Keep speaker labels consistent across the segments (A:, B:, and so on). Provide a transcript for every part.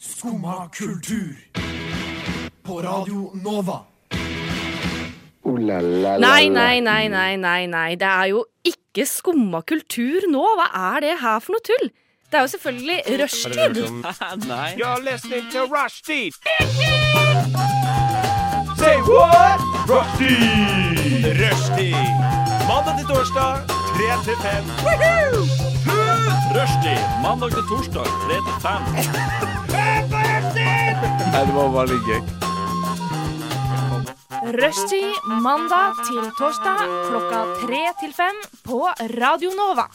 A: Skumma kultur. På Radio Nova.
B: Ooh la la la
C: Nei,
B: la.
C: nei, nei, nei, nei, nei. Det er jo ikke skumma kultur nå. Hva er det her for noe tull? Det er jo selvfølgelig rushtid.
D: You're listening to Rushdie. Say what? Rushdie. Rushdie. Mandag til torsdag, 3 til 5. Rushdie. Mandag til torsdag, 3 til 5.
C: Rushtid mandag til torsdag klokka tre til fem på Radio Nova.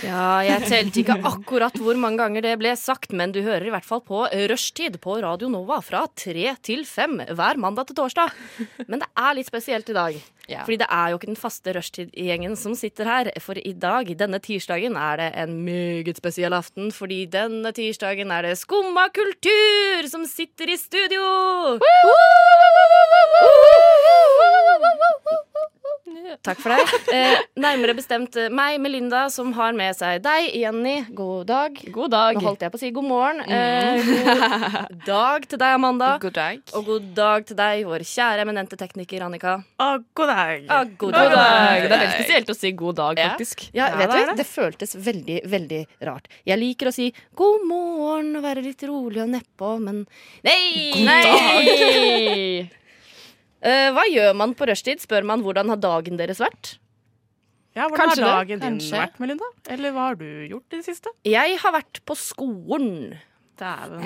C: Ja, jeg telte ikke akkurat hvor mange ganger det ble sagt, men du hører i hvert fall på rushtid på Radio Nova fra tre til fem hver mandag til torsdag. Men det er litt spesielt i dag.
E: Ja.
C: Fordi det er jo ikke den faste rushtid-gjengen som sitter her. For i dag, denne tirsdagen, er det en meget spesiell aften. Fordi denne tirsdagen er det Skumma kultur som sitter i studio! Takk for deg. Eh, nærmere bestemt eh, meg, Melinda, som har med seg deg, Jenny. God dag.
E: God dag.
C: Nå holdt jeg på å si god morgen. Eh, god dag til deg, Amanda.
E: God dag.
C: Og god dag til deg, vår kjære eminente tekniker Annika.
F: god dag.
C: Ah, god
E: God
C: dag.
E: dag. Det er veldig spesielt å si god dag,
C: Ja.
E: faktisk.
C: Ja,
F: Ja,
C: vet
F: det er
C: du, det føltes veldig, veldig rart. Jeg liker å si god morgen og være litt rolig og nedpå, men Nei! Nei! Eh, hva gjør man på rushtid? Spør man hvordan har dagen deres vært?
F: Ja, hvordan
E: Kanskje det.
F: har dagen din
E: Kanskje.
F: vært, Melinda? Eller hva har du gjort i det siste?
C: Jeg har vært på skolen.
F: Dæven.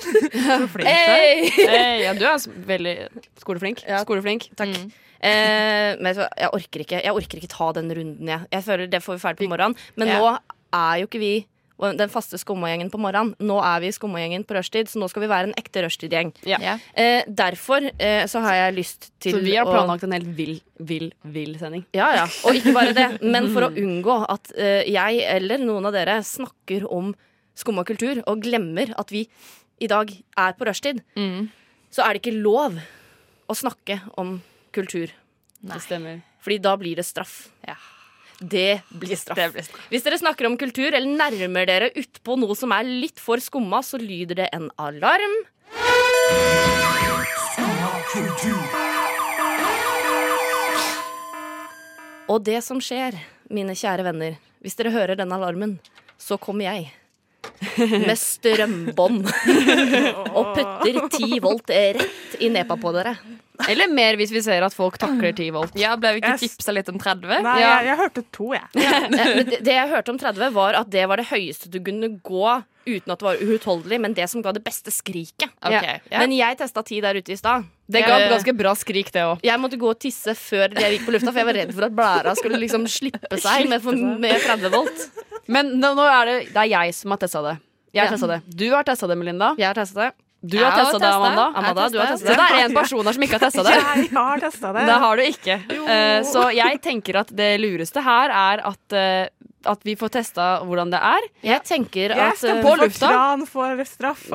F: Så flink du er.
C: Hey!
E: Eh, ja, du er s- veldig skoleflink.
C: Ja.
E: Skoleflink.
C: Takk. Eh, men vet du hva, jeg orker ikke Jeg orker ikke ta den runden, jeg. jeg føler det får vi ferdig på morgenen. Men
E: Ja.
C: nå er jo ikke vi den faste skumma-gjengen på morgenen. Nå er vi skumma-gjengen på rushtid, så nå skal vi være en ekte rushtid-gjeng.
E: Ja.
C: Eh, derfor eh, så har jeg lyst til
E: Så vi har
C: å-
E: planlagt en helt vill, vill, vill sending.
C: Ja, ja. Og ikke bare det, men for å unngå at eh, jeg eller noen av dere snakker om skum og kultur og glemmer at vi i dag er på rushtid, så er det ikke lov å snakke om kultur.
E: Det stemmer.
C: Fordi da blir det straff.
E: Ja.
C: Det blir straff. Hvis dere snakker om kultur eller nærmer dere utpå noe som er litt for skumma, så lyder det en alarm.
A: Skumma kultur.
C: Og det som skjer, mine kjære venner, hvis dere hører den alarmen, så kommer jeg. Med strømbånd. Og putter 10 volt rett i nepa på dere.
E: Eller mer hvis vi ser at folk takler 10 volt.
G: Ja, ble vi ikke
F: Jeg s-
G: tipsa litt om 30?
F: Nei,
E: Ja.
F: jeg, jeg hørte to, jeg.
C: Eh, men Det det jeg hørte om 30, var at det var det høyeste du kunne gå uten at det var uutholdelig, men det som ga det beste skriket.
G: Ok, ja.
C: Men jeg testa 10 der ute i stad.
E: Det ga et ganske bra skrik, det òg.
C: Jeg måtte gå og tisse før jeg gikk på lufta, for jeg var redd for at blæra skulle liksom slippe seg med, for, med 30 volt.
E: Men nå, nå er det, det er jeg som har testa det. Jeg har
C: Ja.
E: testet det. Du har testa det, Melinda.
C: Jeg har testa det.
E: Du
G: Jeg
E: har
G: har
E: testa det,
G: testet.
E: Amanda.
G: Jeg har
E: Amanda du har testet
G: testet.
E: det. Så det er en person her som ikke har testa det.
F: Jeg har testa det.
E: Det har du ikke. Eh, så jeg tenker at det lureste her er at, eh, at vi får testa hvordan det er.
C: Jeg tenker
F: Jeg eh,
C: at
F: stemmer
E: på
F: for
E: lufta.
F: Tran for straff.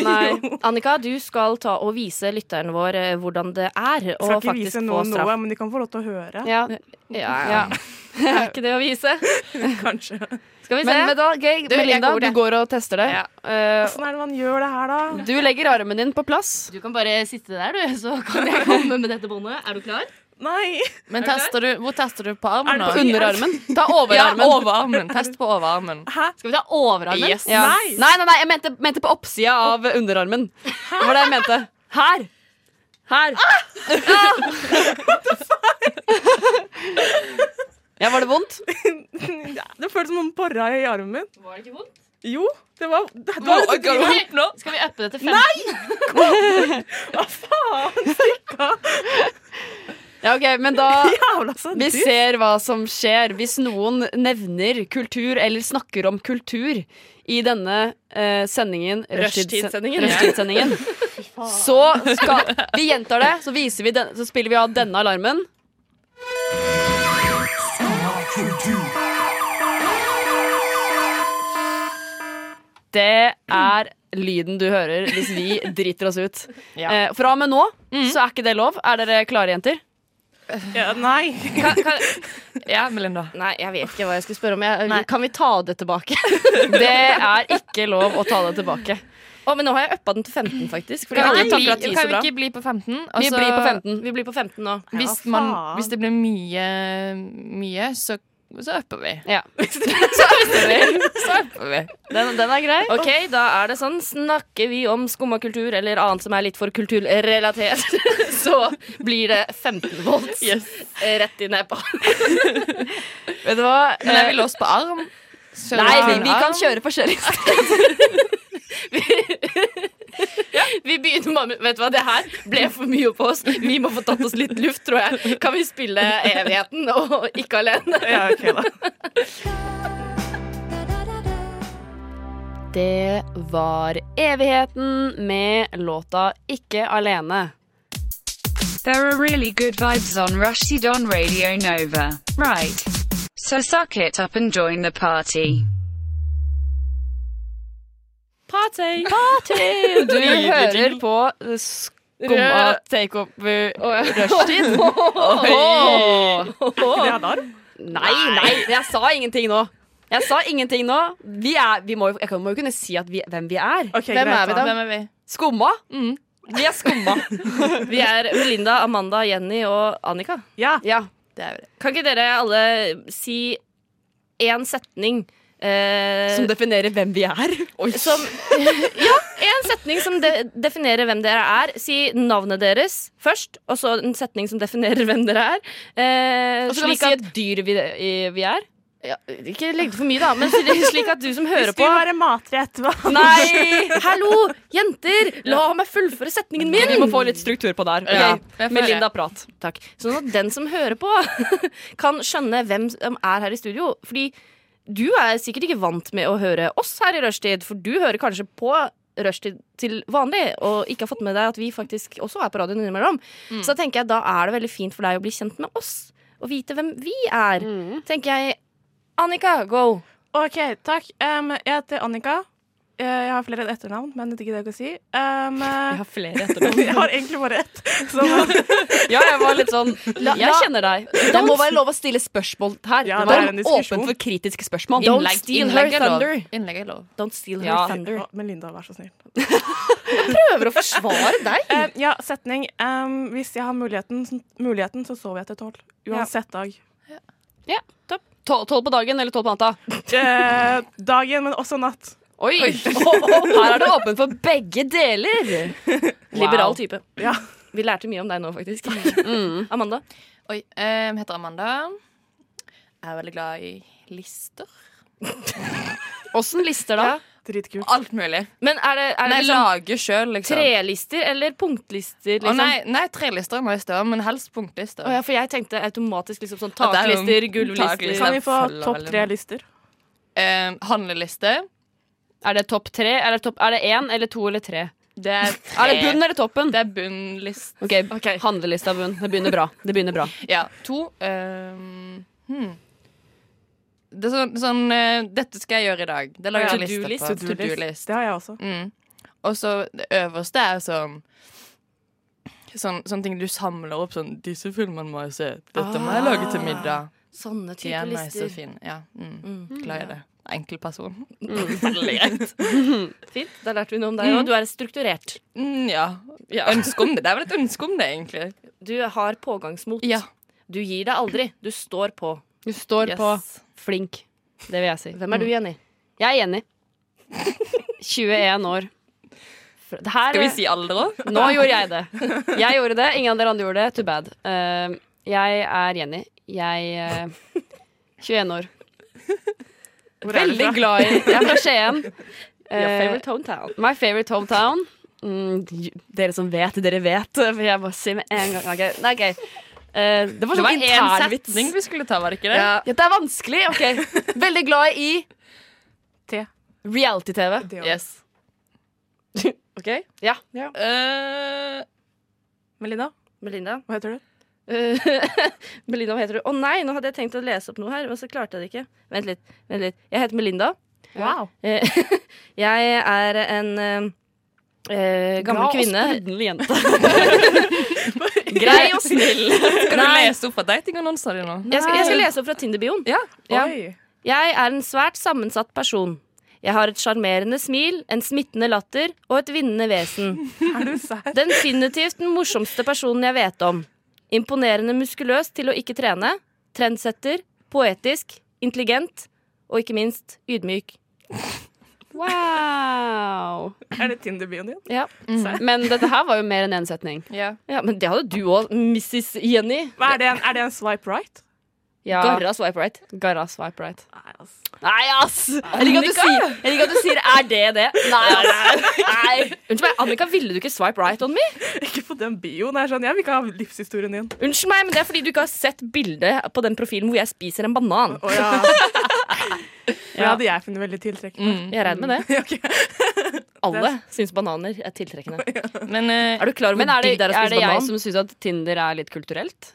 E: nei, nei.
C: Annika, du skal ta og vise lytteren vår eh, hvordan det er å
F: jeg skal ikke
C: faktisk
F: vise
C: få
F: noen
C: straff.
F: noe, men de kan få lov til å høre.
E: Ja.
C: Ja, ja.
E: Ja.
C: Er ikke det å vise?
F: Kanskje.
C: Skal vi se.
E: Men, men da, ok,
G: jeg
E: Melinda,
G: går,
E: du
G: jeg.
E: går og tester det. Eh,
F: Åssen er det man gjør det her, da?
E: du legger armen din på plass.
C: du kan bare sitte der, du, så kan jeg komme med dette båndet. Er du klar?
F: Nei.
G: Men tester du, hvor tester du på
F: Er
G: armen
F: det
G: nå?
F: på
E: Underarmen.
G: Ta overarmen.
E: Ja,
G: Ja, overarmen. Test på overarmen.
F: Hæ?
C: Skal vi ta overarmen?
G: Yes.
E: Ja.
F: Nei.
E: Nei, nei, nei, jeg mente, mente på oppsida av underarmen. Det var det jeg mente. Her. Her.
G: Ah!
E: Ah! Ja, var det vondt?
F: Det føltes som noen bora i armen.
C: Var det ikke vondt?
F: Jo, det var det var-
G: Nå, jeg går opp nå.
C: Skal vi uppe det til 15?
E: Ja, ok, men da
F: Jævla så
E: Vi
F: dyrt.
E: ser hva som skjer hvis noen nevner kultur eller snakker om kultur i denne eh, sendingen
C: Rushtidssendingen.
E: Rushtidssendingen. Så skal Vi gjentar det, så, viser vi den, så spiller vi av denne alarmen.
A: Skumma kultur.
E: Det er lyden du hører hvis vi driter oss ut.
G: Ja.
E: Eh, fra og med nå så er ikke det lov. Er dere klare, jenter?
F: Ja, nei.
G: Kan, kan, ja, Melinda.
C: Nei, jeg vet ikke hva jeg skulle spørre om. Jeg,
G: Nei.
C: kan vi ta det tilbake?
G: Det er ikke lov å ta det tilbake.
C: Å, men nå har jeg uppa den til 15, faktisk. Fordi
G: Kan vi
C: alle
G: ikke
C: takker
G: bli,
C: at de er
G: kan
C: så
G: vi
C: bra.
G: ikke altså- bli på 15? og
C: Vi
G: så-
C: blir på 15. Vi blir på 15 nå.
G: Hvis, man,
F: faen.
G: hvis det blir mye, mye så, så upper vi.
E: Ja.
G: Så upper vi.
E: Den, den er grei.
C: Ok, da er det sånn. Snakker vi om skumma kultur eller annet som er litt for kulturrelatert, så blir det 15 volts rett i neppa.
E: Vet du hva?
G: Men er vi låst på arm? Kjører
E: Nei, vi,
G: på
E: vi
G: arm?
E: kan kjøre forskjellig.
C: Vi begynner bare med Vet du hva, det her ble for mye på oss. Vi må få tatt oss litt luft, tror jeg. Kan vi spille Evigheten og Ikke alene?
F: Ja, ok da.
E: Det var Evigheten med låta Ikke alene.
H: There are really good vibes on Rushdie Don Radio Nova. Right. So suck it up and join the party.
C: Party!
E: Du hører på Skumma takeover rushtid.
F: Ikke det alarm?
E: Nei, nei, jeg sa ingenting nå. Jeg sa ingenting nå. Vi er, vi må, jo- jeg kan- må jo kunne si at vi, hvem vi er.
F: Ok,
C: Hvem
F: greit
C: er vi da?
G: Hvem er vi?
E: Skumma. Vi er skumma.
C: Vi er Melinda, Amanda, Jenny og Annika.
F: Ja.
E: Ja.
C: Kan ikke dere alle si én setning eh,
E: Som definerer hvem vi er.
C: som Ja, en setning som de definerer hvem dere er. Si navnet deres først, og så en setning som definerer hvem dere er. Eh,
E: Og så kan vi
C: slik at,
E: si et dyr vi, i- vi er.
C: ja, Ikke legg det for mye, da, men slik at du som hører
F: Hvis vi
C: på
F: var en matrett, hva?
C: Nei! Hallo, jenter! La meg fullføre setningen min!
E: Vi må få litt struktur på der.
G: Ja,
E: Ok,
G: jeg får
E: Med
G: det.
E: Linda Prat.
C: Takk. Sånn at den som hører på, kan skjønne hvem som er her i studio. Fordi du er sikkert ikke vant med å høre oss her i rushtid, for du hører kanskje på rushtid til vanlig, og ikke har fått med deg at vi faktisk også er på radioen innimellom.
E: Mm.
C: Så da tenker jeg da er det veldig fint for deg å bli kjent med oss, og vite hvem vi er.
E: Mm.
C: Tenker jeg Annika, go!
F: Ok, takk. Em, jeg heter Annika. Eh, Jeg har flere etternavn, men det gidder jeg ikke å si. Em, eh,
E: har flere etternavn.
F: jeg har egentlig bare ett. Så,
E: Ja, jeg var litt sånn Jeg
C: la-
E: kjenner deg. Det må være lov å stille spørsmål her.
F: Ja,
E: det
F: det er
E: var
F: en diskusjon.
E: åpent for kritiske spørsmål.
C: Don't
G: Innlegg-
C: steal her
G: innlegg er lov.
C: thunder.
G: Innlegg er lov.
C: Don't steal her
E: Ja.
C: thunder.
F: Å, men Linda, vær så snill.
C: Prøver å forsvare deg!
F: Eh, ja, setning. Em, hvis jeg har muligheten, muligheten, så sover jeg til tolv. Uansett dag.
E: Tol- Tolv på dagen eller tolv på natta?
F: Eh, dagen, men også natt.
E: Oi! Her er det åpent for begge deler.
C: Liberal type.
F: Ja.
C: Vi lærte mye om deg nå, faktisk.
E: Mm.
C: Amanda?
G: Oi, jeg heter Amanda. Jeg er veldig glad i lister.
E: Åssen lister, da?
F: Dritkult.
G: Alt mulig.
C: Men er det, er
G: Nei,
C: det liksom
G: lager sjøl, liksom.
C: Trelister eller punklister? Liksom?
G: Å, nei, nei, trelister må jeg stå, men helst punktlister.
C: Å ja, for jeg tenkte automatisk liksom sånn
G: Ja, det er jo-
C: taklister, gulvlister
G: Taklister.
F: Kan vi få
G: følger
F: topp
G: veldig
F: tre
G: med.
F: lister?
G: Eh, handleliste.
E: Er det topp tre? Er det, topp, er det én eller to eller tre?
G: Det er, tre.
E: Er det bunnen eller toppen?
G: Det er bunnlist.
E: Ok, Handlelista bunn. Det begynner bra. Det begynner bra.
G: Ja, to. ehm, hmm. Det er sånn, sånn eh, Dette skal jeg gjøre i dag. Det lager
F: Ja,
G: jeg en liste på.
F: To-do-list.
G: To-do-list.
F: Det har jeg også.
G: Mm. Og så det øverste er sånn Sånn, sånne ting du samler opp sånn 'Disse filmene må jeg se. Dette må jeg lage til middag.'
C: Sånne
G: De
C: type
G: er nice
C: lister.
G: og fine. Ja. Ah, Mm. Glad i det. Enkel person.
C: Fint, Da lærte vi noe om deg òg. Du er strukturert.
G: Mm, ja. Ønske om det. Det er vel et ønske om det, egentlig.
C: Du har pågangsmot.
G: Ja.
C: Du gir deg aldri. Du står på.
E: Du står
G: Yes.
E: på flink. Det vil jeg si.
C: Hvem er du, Jenny?
E: Jeg er enig. 21 år. Fra- Det her,
G: Skal vi si alder òg?
E: Nå gjorde jeg det. Jeg gjorde det, ingen av dere andre gjorde det. Too bad. Eh, jeg er Jenny. Jeg eh, 21 år. Veldig glad i Jeg er fra Skien.
C: Your
E: Eh,
C: favorite hometown.
E: my favorite hometown. Mm, j- dere som vet, dere vet. For jeg bare sier med en gang Ok, Nei, ok. Eh, det var
G: Det
E: sånn
G: var én
E: internvits.
G: setning vi skulle ta, var det ikke det?
E: Ja, det er vanskelig. ok Veldig glad i
F: Te.
E: reality-TV.
F: Det også.
G: Yes.
C: OK?
E: Ja.
G: Eh,
F: Melinda,
C: Melinda?
F: hva heter du?
C: Eh, Melinda, hva heter du? Å nei, nå hadde jeg tenkt å lese opp noe her, men så klarte jeg det ikke. Vent litt. vent litt Jeg heter Melinda.
E: Wow.
C: Eh, jeg er en eh, eh, gammel
E: Glad og
C: kvinne.
E: sprudlende jente.
G: Grei og snill. Skal du
C: Nei.
G: lese opp av datingannonsene dine nå?
C: Jeg skal, jeg skal lese opp fra Tinder-bioen.
G: Ja.
C: Ja.
F: Oi.
C: Jeg er en svært sammensatt person. Jeg har et sjarmerende smil, en smittende latter og et vinnende vesen.
F: Er du sær?
C: Den Definitivt den morsomste personen jeg vet om. Imponerende muskuløs til å ikke trene. Trendsetter. Poetisk. Intelligent. Og ikke minst ydmyk.
E: Wow.
F: Er det Tinder-bioen din?
C: Ja,
E: Men dette her var jo mer enn én setning.
G: Ja.
C: Mm. ja Men det hadde du òg, Mrs. Jenny.
F: Hva er, det en, er det en swipe right?
E: Ja.
C: Garra swipe right.
E: Garra swipe right.
F: Nei, altså.
C: Nei, ass! Jeg liker at du sier, jeg liker at du sier 'er det det'? Nei, ass. Nei. Unnskyld meg, Annika, ville du ikke swipe right on me?
F: Ikke på den bioen. Det er sånn, jeg vil ikke ha livshistorien din.
C: Unnskyld meg, men det er fordi du ikke har sett bildet på den profilen hvor jeg spiser en banan.
F: Å ja. For det hadde jeg funnet veldig tiltrekkende.
E: Mm.
C: Jeg regner med det. Alle syns bananer er tiltrekkende.
G: Men, eh,
C: Er du klar over
E: Men er
C: hvor
E: det,
C: digg det er å
E: er det
C: spise
E: jeg
C: banan?
E: som syns at Tinder er litt kulturelt?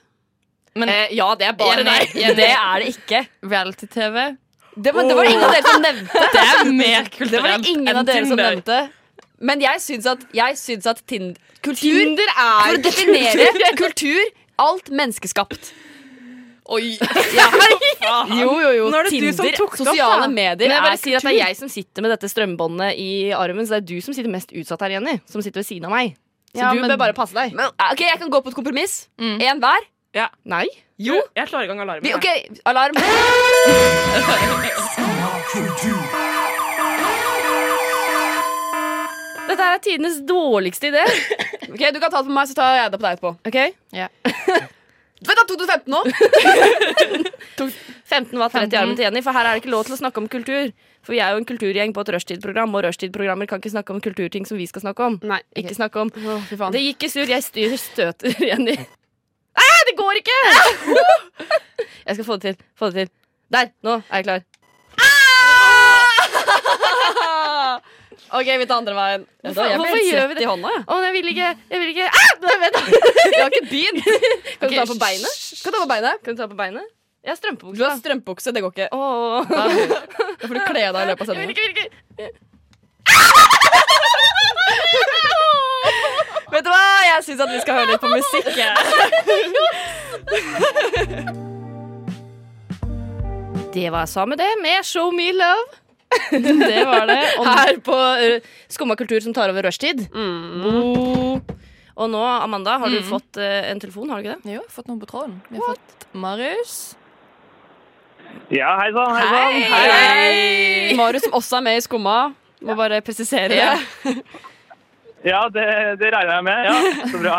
C: Eh, ja, det er
E: Jenny, ja, det er det ikke.
G: reality-TV
E: Det var det var ingen av dere som nevnte.
G: Det er mer
E: Det var
G: kulturelt
E: det ingen av dere som nevnte. Men jeg syns at, jeg syns at Tind- kultur
C: Tinder er
E: For å definere kultur alt menneskeskapt.
G: Oi.
E: Ja. Jo, jo, jo.
F: Nå er det du som
E: Tinder,
F: tok det opp,
E: sosiale
F: da.
E: medier,
C: Men jeg bare
E: er
C: sier at det er
E: kultur.
C: jeg som sitter med dette strømbåndet i armen, så det er du som sitter mest utsatt her, Jenny. Som sitter ved siden av meg. Så
E: Ja,
C: du
E: men-
C: bør bare passe deg.
E: Men, ok, Jeg kan gå på et kompromiss. Én hver.
C: Mm. Nei.
E: Jo.
F: Mm. Jeg slår i gang alarmen.
E: Vi,
F: jeg.
E: OK, alarm.
A: Kultur.
C: Dette her er tidenes dårligste idé.
E: Ok, Du kan ta det på meg, så tar jeg det på deg etterpå.
C: Ok?
E: Vent, da, 2015 nå?
C: 15 var 30 i armen til Jenny, for her er det ikke lov til å snakke om kultur. For vi er jo en kulturgjeng på et rushtidprogram, og rushtidprogrammer kan ikke snakke om kulturting som vi skal snakke om.
E: Nei,
C: Ikke snakke om
E: Å, fy faen.
C: Det gikk i sur. Jeg styrer støter, Jenny. Nei, det går ikke! Jeg skal få det til. Få det til. Der! Nå er jeg klar. Ah!
E: OK, vi tar andre veien.
C: Hvorfor-
E: Da, jeg ble
C: hvorfor
E: helt
C: gjør vi
E: svett
C: det?
E: I hånda, jeg.
C: Å, men jeg vil ikke Jeg vil ikke ah! Nei, vent, da.
E: jeg har ikke begynt.
C: Kan du
E: Ok,
C: ta på beinet?
E: Kan du ta på beinet?
C: Kan du ta på beinet? Jeg har strømpebukse.
E: Du har
C: da.
E: strømpebukse, det går ikke.
C: Åh.
E: Da får du kle deg i løpet av
C: Jeg vil
E: sendingen.
C: ikke, jeg vil ikke.
E: Vet du hva, jeg syns at vi skal høre litt på musikk. jeg.
C: Det var samme det med Show Me Love
E: Det var det. Og
C: her på uh, Skumma kultur som tar over rushtid.
E: Mm.
C: Bo. Og nå, Amanda, har du fått eh, en telefon, har du ikke det?
G: Jo, fått noen på tråden. Vi har fått Marius.
I: Ja, hei sann, hei sann.
E: Hei! Marius, som også er med i Skumma. Må bare presisere det.
I: Ja, det, det regner jeg med. Ja, så bra.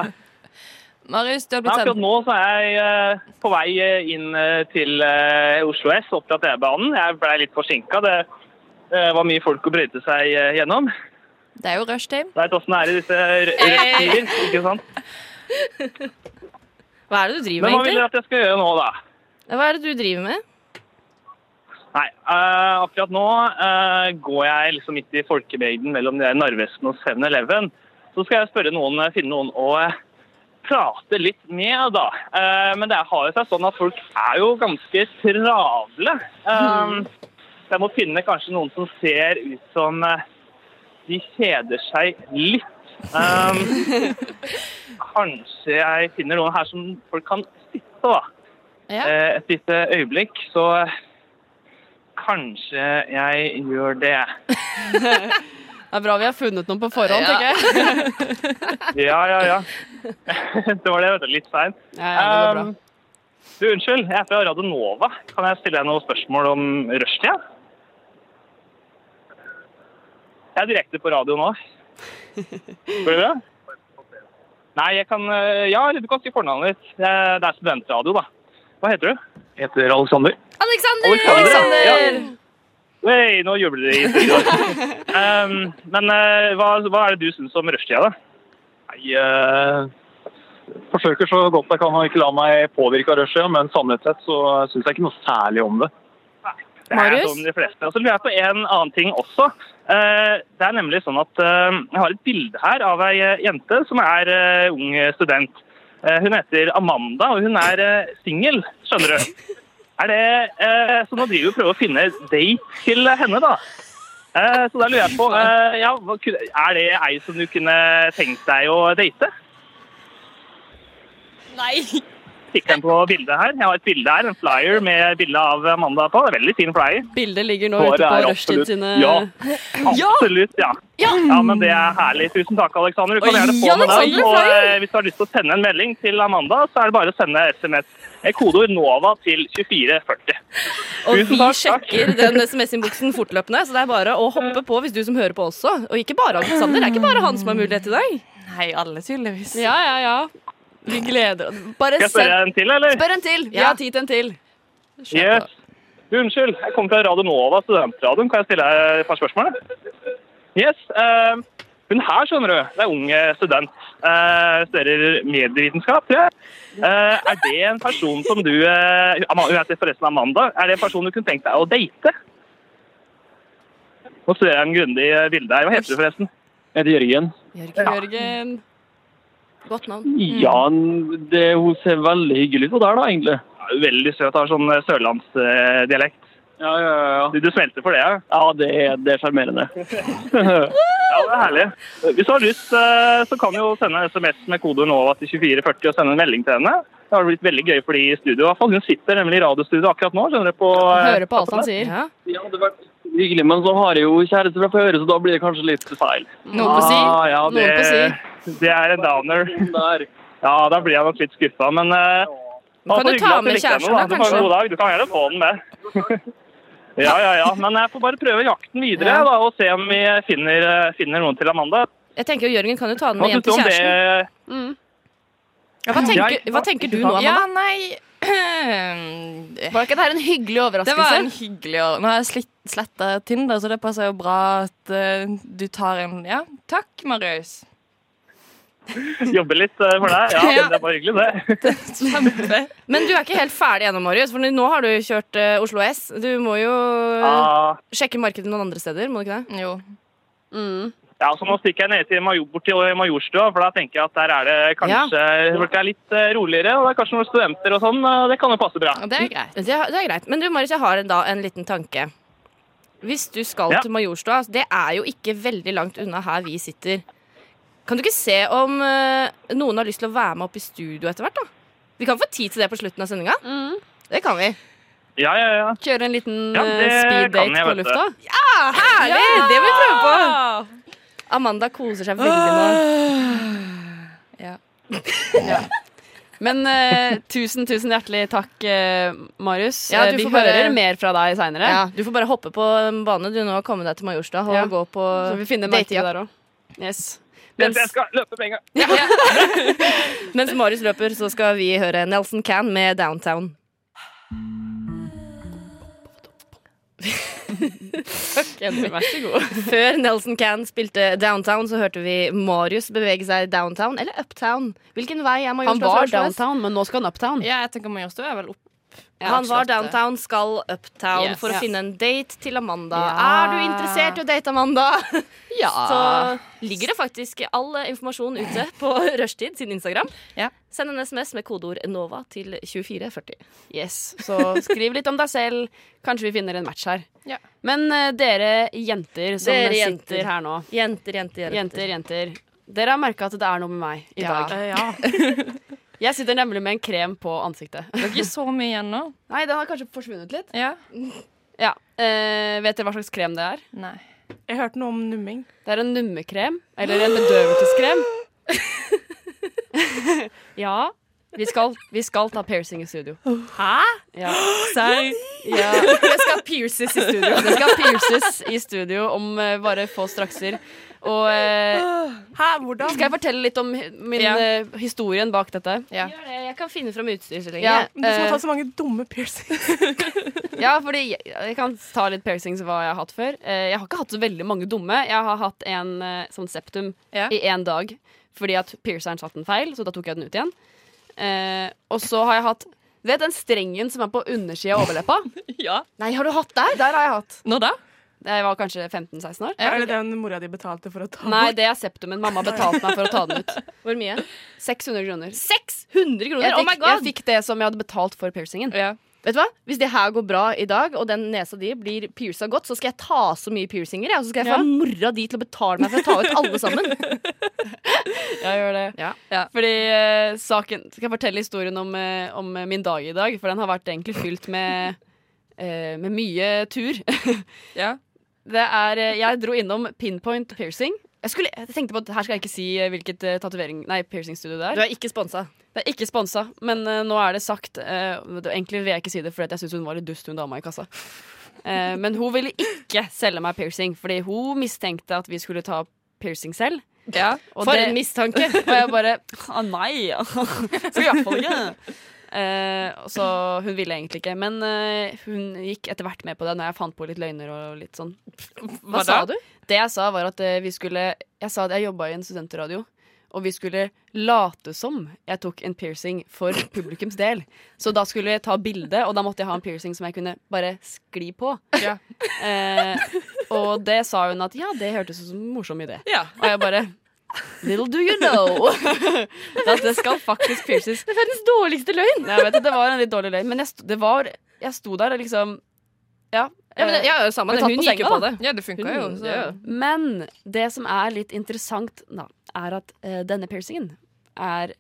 G: Marius, du
I: Nei,
G: har blitt
I: akkurat
G: sendt
I: nå så er jeg eh, på vei eh, inn eh, til eh, Oslo S, opp fra T-banen. Jeg ble litt forsinka. Det eh, var mye folk å brøyte seg eh, gjennom.
G: Det er jo rushtid.
I: Veit åssen det er i disse r- rødtider, ikke sant.
C: Hva er det du driver
I: Men hva
C: med,
I: vil dere
C: egentlig?
I: at jeg skal gjøre nå, da?
C: Hva er det du driver med?
I: Nei, eh, akkurat nå eh, går jeg liksom midt i folkemengden mellom de der Narvesen og 7-Eleven. Så skal jeg spørre noen, eh, finne noen å eh, prate litt med, da. Eh, men det har jo seg sånn at folk er jo ganske travle. Eh,
C: Mm.
I: så jeg må finne kanskje noen som ser ut som eh, de kjeder seg litt. Eh, kanskje jeg finner noen her som folk kan sitte, da.
G: Ja.
I: Eh, et lite øyeblikk, så kanskje jeg gjør det.
E: Det er bra vi har funnet noen på forhånd, tenker jeg.
I: Ja, ja, ja. det var det, vet du. Litt seint.
E: Ja, ja, det går bra.
I: Um, Du, unnskyld, jeg er fra Radio Nova. Kan jeg stille deg noen spørsmål om rushtida? Jeg er direkte på radio nå. Går det bra? Nei, jeg kan eh, Ja, eller du kan si fornavnet ditt. Eh, Det er studentradio, da. Hva heter du? Jeg heter Alexander.
C: Alexander!
I: Alexander! Hei, nå jubler de i studio. um, men eh, hva, hva er det du syns om rushtida, da?
J: Jeg eh, forsøker så godt jeg kan å ikke la meg påvirke av rushet, men sannhet sett så syns jeg ikke noe særlig om det.
I: Det er
C: Marius?
I: som de fleste. Og så lurer jeg på en annen ting også. Eh, Det er nemlig sånn at eh, jeg har et bilde her av ei eh, jente som er eh, ung student. Eh, Hun heter Amanda, og hun er eh, singel, skjønner du. Er det, eh, så nå driver vi og prøver å finne date til henne, da. Eh, Så da lurer jeg på eh, ja, hva kunne- Er det ei som du kunne tenkt deg å date?
E: Nei.
I: Fikk den på bildet her. Jeg har et bilde her, en flyer med bilde av Amanda på. Veldig fin flyer.
E: Bildet ligger nå
I: Håret
E: ute
I: er
E: på
I: absolutt-
E: Rushtid sine
I: Ja,
E: Ja!
I: absolutt. Ja. ja! men det er herlig. Tusen takk, Alexander. Du kan
E: Oi,
I: gjerne få med den.
E: Alexander,
I: Og
E: flyer!
I: eh, hvis du har lyst til å sende en melding til Amanda, så er det bare å sende SMS. eh, Kodeord NOVA til 2440.
C: Og
I: Tusen
C: vi
I: takk, takk.
C: sjekker den SMS-innboksen fortløpende, så det er bare å hoppe på hvis du som hører på også. Og ikke bare Alexander. Det er ikke bare han som har mulighet i dag.
G: Nei, alle tydeligvis.
E: Ja, ja, ja. Vi gleder oss. Bare
I: Skal jeg spørre en til, eller?
E: Spør en til! Jeg har tid til en til.
I: Yes. Du, Unnskyld, jeg kommer fra Radio Nova, studentradioen. Kan jeg stille deg et par spørsmål? Yes. eh, hun her, skjønner du, det er ung eh, student. eh, studerer medievitenskap, tror jeg. Eh, er det en person som du eh, Ama- Hun heter forresten Amanda. Er det en person du kunne tenkt deg å date? Nå ser jeg en grundig eh, bilde her. Hva heter du forresten? Jeg heter Jørgen.
E: Jørgen.
C: Godt navn.
I: Mm.
J: Ja, det, hun ser veldig hyggelig ut, hun der, da, egentlig.
I: Veldig søt. Har sånn eh, sørlandsdialekt. Ja, ja, ja. Du, du smelter for det, ja?
J: Ja, det er- det er sjarmerende.
I: Ja, det er herlig. Hvis du har lyst, eh, så kan du jo sende en SMS med kode NOVA til 2440 og sende en melding til henne. Det har blitt veldig gøy for de i studio. i hvert fall. Hun sitter nemlig i radiostudio akkurat nå. skjønner du på... eh,
E: Hører på alt han sier.
J: Hyggelig, men så har jeg jo kjæreste fra før, så da blir det kanskje litt feil.
E: Noe på si.
I: Ah, ja,
E: Noe på si.
I: det, det er en downer. Ja, da blir jeg nok litt skuffa, men eh,
C: Kan
I: altså,
C: du
I: hyggelig
C: ta
I: at
C: med
I: likte henne,
C: kjæresten da,
I: Du får
C: kanskje?
I: en god dag. Du kan gjerne få den med. Ja, ja, ja. Men jeg får bare prøve jakten videre da, og se om vi finner, eh, finner noen til Amanda.
C: Jeg tenker jo Jørgen kan jo ta den
I: Hva
C: med hjem
I: syns du
C: til
I: om det?
C: kjæresten. Ja, hva,
I: Jeg-
C: tenker, hva tenker du nå,
G: Ja,
C: Amanda?
G: nei Det
E: Var ikke dette en hyggelig
G: var en
E: overraskelse?
G: hyggelig år. Nå har jeg sletta Tinder, så det passer jo bra at eh, du tar en Ja, takk, Marius.
I: Jobbe litt eh, for deg? Ja, det er bare hyggelig, det.
G: Kjempe.
C: Men du er ikke helt ferdig ennå, Marius. For nå har du kjørt eh, Oslo S. Du må jo eh,
I: Ah,
C: sjekke markedet noen andre steder, må du ikke det?
G: Jo.
I: ja, så Nå stikker jeg ned til Major, bort til Majorstua, for da tenker jeg at der er det kanskje folk er litt eh, roligere. og Det er kanskje noen studenter og sånn. eh, Det kan jo passe bra.
G: Og det er greit.
C: Det, det er greit. Men du, Marius, jeg har en, da en liten tanke. Hvis du skal
I: Ja.
C: til Majorstua, det er jo ikke veldig langt unna her vi sitter. Kan du ikke se om eh, noen har lyst til å være med opp i studio etter hvert, da? Vi kan få tid til det på slutten av sendinga.
E: Mm.
C: Det kan vi.
I: Ja, ja, ja.
E: Kjøre en liten
I: Ja,
E: eh,
I: det
E: speed
I: kan jeg,
E: date på
I: vet du.
E: lufta?
C: Herlig! Det må vi prøve på. Amanda koser seg veldig nå.
E: Men eh, tusen, tusen hjertelig takk, eh, Marius.
C: Ja,
E: Eh,
C: du
E: vi
C: får bare-
E: hører mer fra deg seinere.
C: Ja, du får bare hoppe på en bane du nå og komme deg til Majorstua og
E: Ja.
C: gå på
E: Så vi finner
C: date,
E: merket
C: ja.
E: der òg. Yes.
I: Jeg
E: Mens,
I: jeg skal løpe med en gang.
C: Mens Marius løper, så skal vi høre Nelson Can med Downtown.
E: Endelig, vær så god.
C: Før Nelson Can spilte Downtown, så hørte vi Marius bevege seg downtown eller uptown. Hvilken vei er
E: Han
C: Majorstua?
E: var
C: fra Oslo S?
E: downtown, men nå skal han uptown.
G: Ja, jeg tenker Majorstua er vel opp.
C: Han var downtown, skal uptown
G: Yes.
C: for å
G: Ja.
C: finne en date til Amanda.
E: Ja.
C: Er du interessert i å date Amanda?
E: Ja.
C: Så ligger det faktisk all informasjon ute på Rushtid sin Instagram.
G: Ja.
C: Send en SMS med kodeord NOVA til 2440.
E: Yes, så skriv litt om deg selv. Kanskje vi finner en match her.
G: Ja.
E: Men eh, dere jenter som
C: Dere jenter.
E: sitter her nå,
C: Jenter, jenter, jenter.
E: jenter, jenter Dere har merka at det er noe med meg i
G: Ja.
E: dag.
F: Eh, ja.
E: Jeg sitter nemlig med en krem på ansiktet.
G: Det er ikke så mye igjen nå.
E: Nei, den har kanskje forsvunnet litt.
G: Ja.
E: Ja, eh, Vet dere hva slags krem det er?
G: Nei.
F: Jeg hørte noe om numming.
E: Det er en nummekrem. Eller en bedøvelseskrem. ja. Vi skal, vi skal ta piercing i studio. Hæ? Ja. ja. Det skal pierces i studio. Det skal pierces i studio om eh, bare få strakser. Og eh,
F: Hæ, hvordan?
E: skal jeg fortelle litt om hi- min,
G: Ja.
E: eh, historien bak dette?
G: Ja.
C: Gjør det. Jeg kan finne fram utstyr så lenge.
E: Ja,
F: Men Du som har
E: eh,
F: tatt så mange dumme piercinger.
E: ja, fordi jeg, jeg kan ta litt piercings hva jeg har hatt før. Eh, jeg har ikke hatt så veldig mange dumme. Jeg har hatt en eh, sånn septum
G: Ja.
E: i én dag fordi at pierceren satt en feil, så da tok jeg den ut igjen. Eh, og så har jeg hatt Du vet den strengen som er på undersida av overleppa?
G: Ja.
E: Nei, har du hatt der? Der har jeg hatt. Eh,
G: Når da?
E: Jeg var kanskje 15-16 år.
F: Er det den mora di betalte for å ta
E: Nei, det er septumen. Mamma betalte meg for å ta den ut.
C: Hvor mye?
E: 600 kroner.
C: 600 kroner!
E: Jeg
C: oh my
E: fikk, jeg
C: god!
E: fikk det som jeg hadde betalt for piercingen.
G: Ja.
C: Vet du hva? Hvis det her går bra i dag, og den nesa di blir pierca godt, så skal jeg ta så mye piercinger, jeg, og så skal jeg få
E: Ja.
C: mora di til å betale meg for å ta ut alle sammen.
E: Jeg gjør det. Fordi eh, saken Skal jeg fortelle historien om, eh, om min dag i dag? For den har vært egentlig fylt med, eh, med mye tur. Det er eh, Jeg dro innom pinpoint piercing. Jeg, skulle, jeg tenkte på at Her skal jeg ikke si eh, hvilket eh, tatovering Nei, piercingstudio det er.
C: Du er ikke sponsa.
E: Det er ikke sponsa, men eh, nå er det sagt. eh, det- egentlig vil jeg ikke si det, fordi at jeg syns hun var litt dust, hun dama i kassa. Eh, men hun ville ikke selge meg piercing, fordi hun mistenkte at vi skulle ta piercing selv. Og
C: For
E: det-
C: en mistanke!
E: Og jeg bare ah, Nei! Skal i hvert fall ikke. Eh, og så hun ville egentlig ikke, men eh, hun gikk etter hvert med på det når jeg fant på litt løgner og litt sånn.
C: Hva sa du?
E: Det jeg sa, var at eh, vi skulle Jeg sa at jeg jobba i en studentradio. Og vi skulle late som jeg tok en piercing for publikums del. Så da skulle jeg ta bilde, og da måtte jeg ha en piercing som jeg kunne bare skli på. Eh, og det sa hun at ja, det hørtes ut som en morsom idé. Og jeg bare Little do you know at det skal faktisk pierces. Det er verdens dårligste løgn. Jeg vet, det, det var en litt dårlig løgn, men jeg sto, det var, jeg sto der og liksom Ja.
C: Ja, men det- ja, samme
E: ble
C: det.
E: tatt
C: Hun
E: på
C: gikk jo
E: senga,
C: på
E: da.
C: det. Ja, det funka
E: Hun-
C: jo, så-
E: ja. Men det som er litt interessant, da, er at eh, denne piercingen er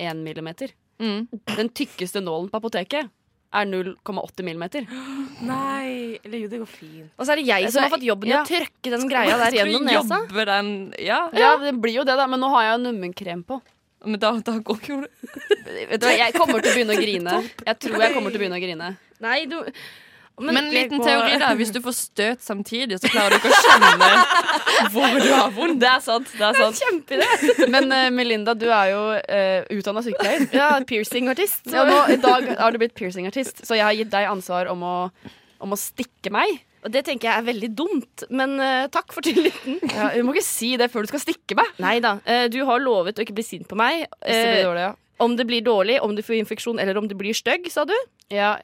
E: én millimeter.
G: Mm.
E: Den tykkeste nålen på apoteket er 0,8 millimeter.
F: Nei. Eller jo, det går fint.
C: Og så er det jeg som har fått jobben i å trykke den greia der gjennom nesa.
E: ja. ja, det blir jo det, da. Men nå har jeg jo nummenkrem på. Men da, går ikke Vet du hva, jeg kommer til å begynne å grine. Jeg tror jeg kommer til å begynne å grine.
C: Nei, du
G: Men en liten
E: Gå-
G: teori, da. Hvis du får støt samtidig, så klarer du ikke å skjønne hvor du har vondt.
E: Det er sant. det er sant Men eh, Melinda, du er jo uh, utdanna sykepleier.
C: Ja, piercingartist.
E: Ja, nå, I dag har du blitt piercingartist, så jeg har gitt deg ansvar om å, om å stikke meg.
C: Og det tenker jeg er veldig dumt, men eh, takk for tilliten.
E: Ja, du må ikke si det før du skal stikke meg.
C: Nei da. eh, du har lovet å ikke bli sint på meg.
E: Hvis det
C: Eh,
E: blir dårlig, ja.
C: Om det blir dårlig, om du får infeksjon, eller om du blir stygg, sa du?
E: ja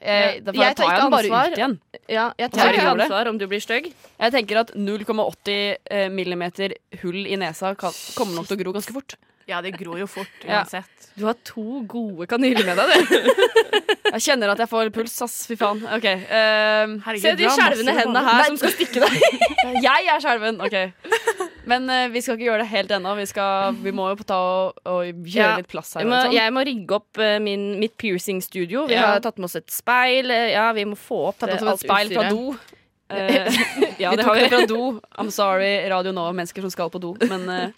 C: Ja.
E: jeg, da
C: Jeg
E: jeg
C: tar
E: tar
C: ikke
E: den bare
C: ansvar.
E: ut igjen.
C: Ja, jeg
E: Tar
C: tar
E: du
C: ikke
E: det?
C: ansvar om du blir stygg.
E: Jeg tenker at 0,80 eh, millimeter hull i nesa kan, kommer nok til å gro ganske fort.
F: Ja, det gror jo fort
E: Ja.
F: uansett.
C: Du har to gode kanyler med deg, du.
E: Jeg kjenner at jeg får puls, ass. Fy faen. Ok. ehm,
F: Herregud,
C: Se
F: du
C: de
F: har masse
C: skjelvende hendene
F: baller.
C: her som skal stikke deg.
E: jeg er skjelven. Ok. Men eh, vi skal ikke gjøre det helt ennå. Vi, skal, vi må jo ta og, og gjøre
C: Ja.
E: litt plass her.
C: Jeg må,
E: og sånn.
C: jeg må rigge opp eh, min, mitt piercingstudio. Vi
E: Ja.
C: har tatt med oss et speil. eh, Ja, vi må få opp
E: Tatt
C: eh,
E: opp som et
C: alt
E: speil fra
C: utstyret.
E: do. Eh, ja, det har vi fra do. I'm sorry, Radio Nova, mennesker som skal på do. Men eh,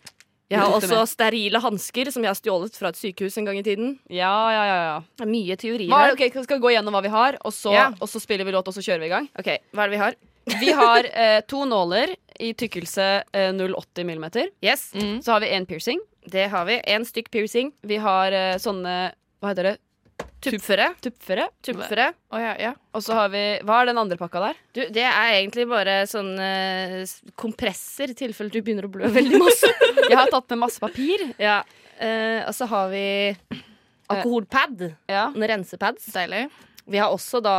C: Jeg har
E: Vi tok det
C: også sterile hansker som jeg har stjålet fra et sykehus en gang i tiden.
E: ja, ja, ja. ja.
C: Det er mye teorier
E: Hva, er-
C: her.
E: ok, skal vi gå gjennom hva vi har, og så,
C: Ja.
E: og så spiller vi låt, og så kjører vi i gang?
C: Ok, Hva er det vi har?
E: Vi har eh, to nåler i tykkelse eh, 0,80 millimeter. Mm.
C: Yes,
E: Så har vi én piercing.
C: det har vi. En stykk piercing.
E: Vi har eh, sånne Hva heter det?
C: Tuppføre.
E: Tuppføre.
C: Tuppføre.
G: Å, ja, ja.
E: Og så har vi Hva er den andre pakka der?
C: Du, det er egentlig bare sånn eh, s- kompresser i tilfelle du begynner å blø veldig masse.
E: Jeg har tatt med masse papir.
C: ja. Eh, og så har vi alkoholpad.
E: Ja.
C: Noen rensepads.
G: Deilig.
C: Vi har også da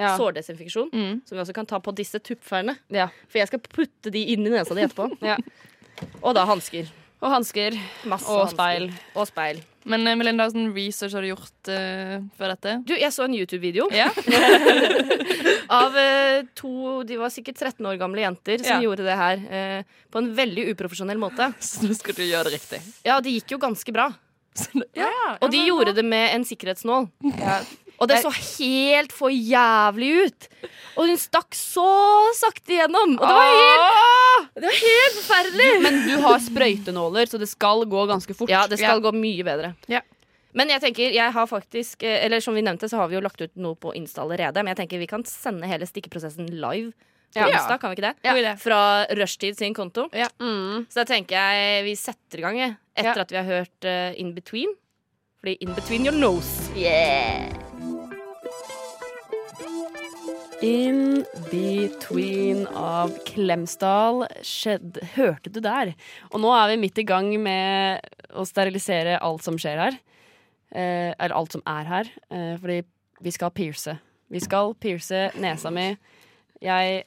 E: Ja. Mm.
C: sårdesinfeksjon, som vi også kan ta på disse tuppferne.
E: Ja.
C: For jeg skal putte de inn i nesa di etterpå.
E: Ja.
C: Og da hansker.
E: Og hansker.
C: Masse
E: Og
C: hansker.
E: speil.
C: Og speil.
G: Men eh, Melinda, hva sånn research har du gjort eh, før dette?
C: Du, jeg så en YouTube-video
G: Ja.
C: av eh, to De var sikkert 13 år gamle jenter som
G: Ja.
C: gjorde det her eh, på en veldig uprofesjonell måte.
G: Så nå skal du gjøre det riktig.
C: Ja, det gikk jo ganske bra.
F: Ja,
C: Og de gjorde det med en sikkerhetsnål. Og det så helt for jævlig ut! Og hun stakk så sakte gjennom! Og det var helt, det var helt forferdelig!
E: Men du har sprøytenåler, så det skal gå ganske fort.
C: Ja, det skal gå mye bedre.
G: Ja.
C: Men jeg tenker, jeg har faktisk eh, Eller som vi nevnte, så har vi jo lagt ut noe på Insta allerede. Men jeg tenker vi kan sende hele stikkeprosessen live på
E: Ja.
C: Insta, kan vi ikke det?
G: God idé.
C: Fra Rushtid sin konto.
E: Mm.
C: Så da tenker jeg vi setter i gang, jeg. Etter
E: Ja.
C: at vi har hørt eh, In Between. Fordi In Between Your Nose.
E: In between av Klemsdal skjedd Hørte du der? Og nå er vi midt i gang med å sterilisere alt som skjer her. Eh, eller alt som er her. Eh, fordi vi skal pierce. Vi skal pierce nesa mi. Jeg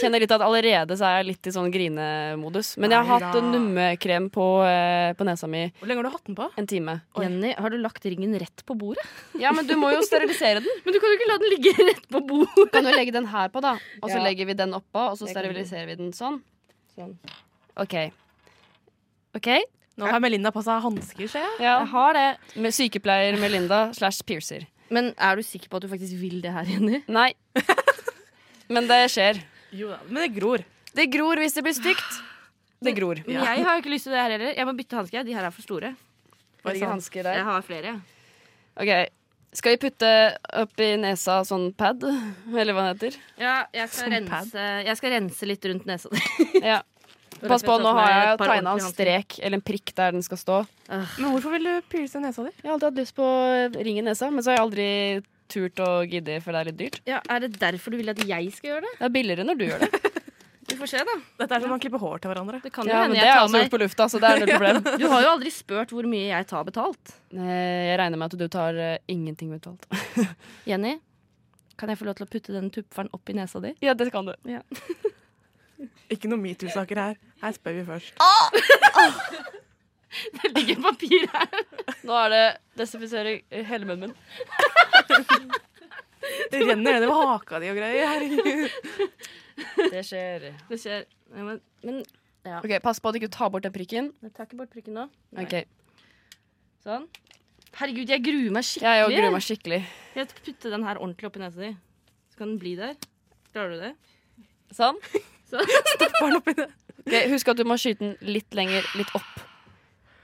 E: kjenner litt at allerede så er jeg litt i sånn grinemodus. Men jeg har hatt
F: Neida.
E: nummekrem på, eh, på nesa mi
F: Hvor lenge har du hatt den på?
E: en time.
C: Jenny, har du lagt ringen rett på bordet?
E: Ja, men du må jo sterilisere den.
C: Men du kan jo ikke la den ligge rett på bordet.
E: Kan du legge den her på, da? Og så
C: Ja.
E: legger vi den oppå, og så
C: Det kan du.
E: Sånn. steriliserer vi den sånn.
C: Sånn.
E: OK. OK,
F: Nå har Melinda på seg hansker, ser jeg.
E: Ja. Jeg har det. Med sykepleier Melinda slash piercer.
C: Men er du sikker på at du faktisk vil det her, Jenny?
E: Nei. Men det skjer.
F: Jo da, Men det gror.
E: Det gror hvis det blir stygt. Det gror.
C: Men jeg har jo ikke lyst til det her heller. Jeg må bytte hansker. De her er for store.
E: Var det ikke hansker der?
C: Jeg har flere.
E: Ok, Skal vi putte oppi nesa sånn pad? Eller hva det heter?
C: Ja, jeg skal,
E: Sånn pad?
C: rense, jeg skal rense litt rundt nesa di.
E: Ja. Pass på, nå har jeg tegna en strek eller en prikk der den skal stå.
F: Men hvorfor vil du pierce nesa di?
E: Jeg har alltid hatt lyst på ring i nesa, men så har jeg aldri turt å gidde, for det er litt dyrt.
C: Ja, Er det derfor du vil at jeg skal gjøre det?
E: Det er billigere når du gjør det.
C: Vi får se, da.
F: Dette er som å klippe hår til hverandre.
C: Det kan jo
E: Ja, men
C: hende
E: Det
C: jeg
E: har jeg
C: tar
E: også gjort
C: meg
E: på lufta, så det er null problem.
C: Du har jo aldri spurt hvor mye jeg tar betalt.
E: Eh, Jeg regner med at du tar eh, ingenting betalt.
C: Jenny, kan jeg få lov til å putte den tupferen opp i nesa di?
E: Ja, det kan du.
F: Ikke noe metoo-saker her. Her spør vi først.
C: Det ligger papir her.
E: Nå er det desinfisering
C: eh,
E: i hele munnen min.
F: Det renner nedover haka di og greier. Herregud.
E: Det skjer.
C: Det skjer. Ja, men, men
E: Ok, Pass på at du ikke tar bort den prikken.
C: jeg tar ikke bort prikken nå. Nei.
E: Ok,
C: Sånn. Herregud, jeg gruer meg skikkelig.
E: Jeg òg gruer meg skikkelig.
C: Jeg putter den her ordentlig opp i nesa di. Så kan den bli der. Klarer du det?
E: Sånn.
F: Barn oppi det.
E: Ok, Husk at du må skyte den litt lenger, litt opp.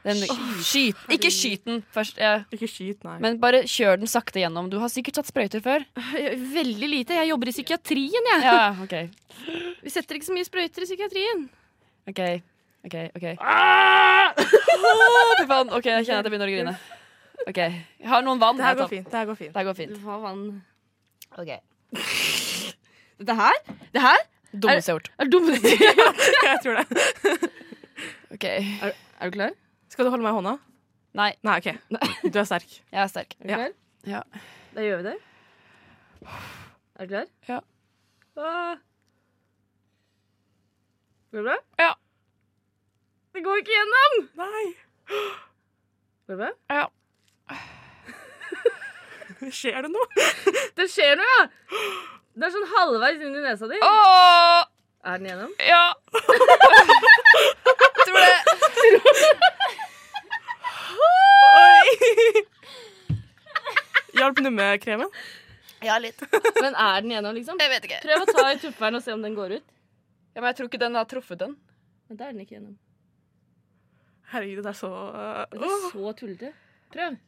E: Den, skyt. Ikke skyt den først, ja.
F: Ikke skyt, nei.
E: men bare kjør den sakte gjennom. Du har sikkert tatt sprøyter før.
C: Veldig lite. Jeg jobber i psykiatrien, jeg.
E: Ja, ok,
C: Vi setter ikke så mye sprøyter i psykiatrien.
E: ok, ok, ok. Å, fy faen. Ok, jeg kjenner at jeg begynner å grine. Ok, Jeg har noen vann.
F: det her
E: Jeg
F: går
E: tar-
F: fint. Det her går fint.
E: Det her går fint.
C: Du får vann. Dette her? Det her
E: Dummeste jeg har gjort.
C: er dummeste
F: Jeg tror det.
E: Ok,
C: Er du klar?
F: Skal du holde meg i hånda?
E: Nei,
F: Nei, OK. Du er sterk.
E: jeg er sterk.
C: Er du
F: Ja.
C: klar?
E: Ja.
C: Da gjør vi det. Er du klar?
E: Ja.
C: Ah. Går det bra?
E: Ja.
C: Det går ikke gjennom!
F: Nei.
C: Går det bra?
F: Skjer det noe?
C: Det skjer noe, ja! Det er sånn halvveis inn i nesa di.
E: Åh,
C: Er den gjennom?
E: ja. Tror det.
F: Hjalp nummekremen?
E: Ja, litt.
C: Men er den gjennom, liksom?
E: Jeg vet ikke.
C: Prøv å ta i tupperen og se om den går ut.
E: Ja, men jeg tror ikke den har truffet den.
C: Men da er den ikke gjennom.
F: Herregud, det er så
C: Det
F: uh,
C: er så tullete. Prøv.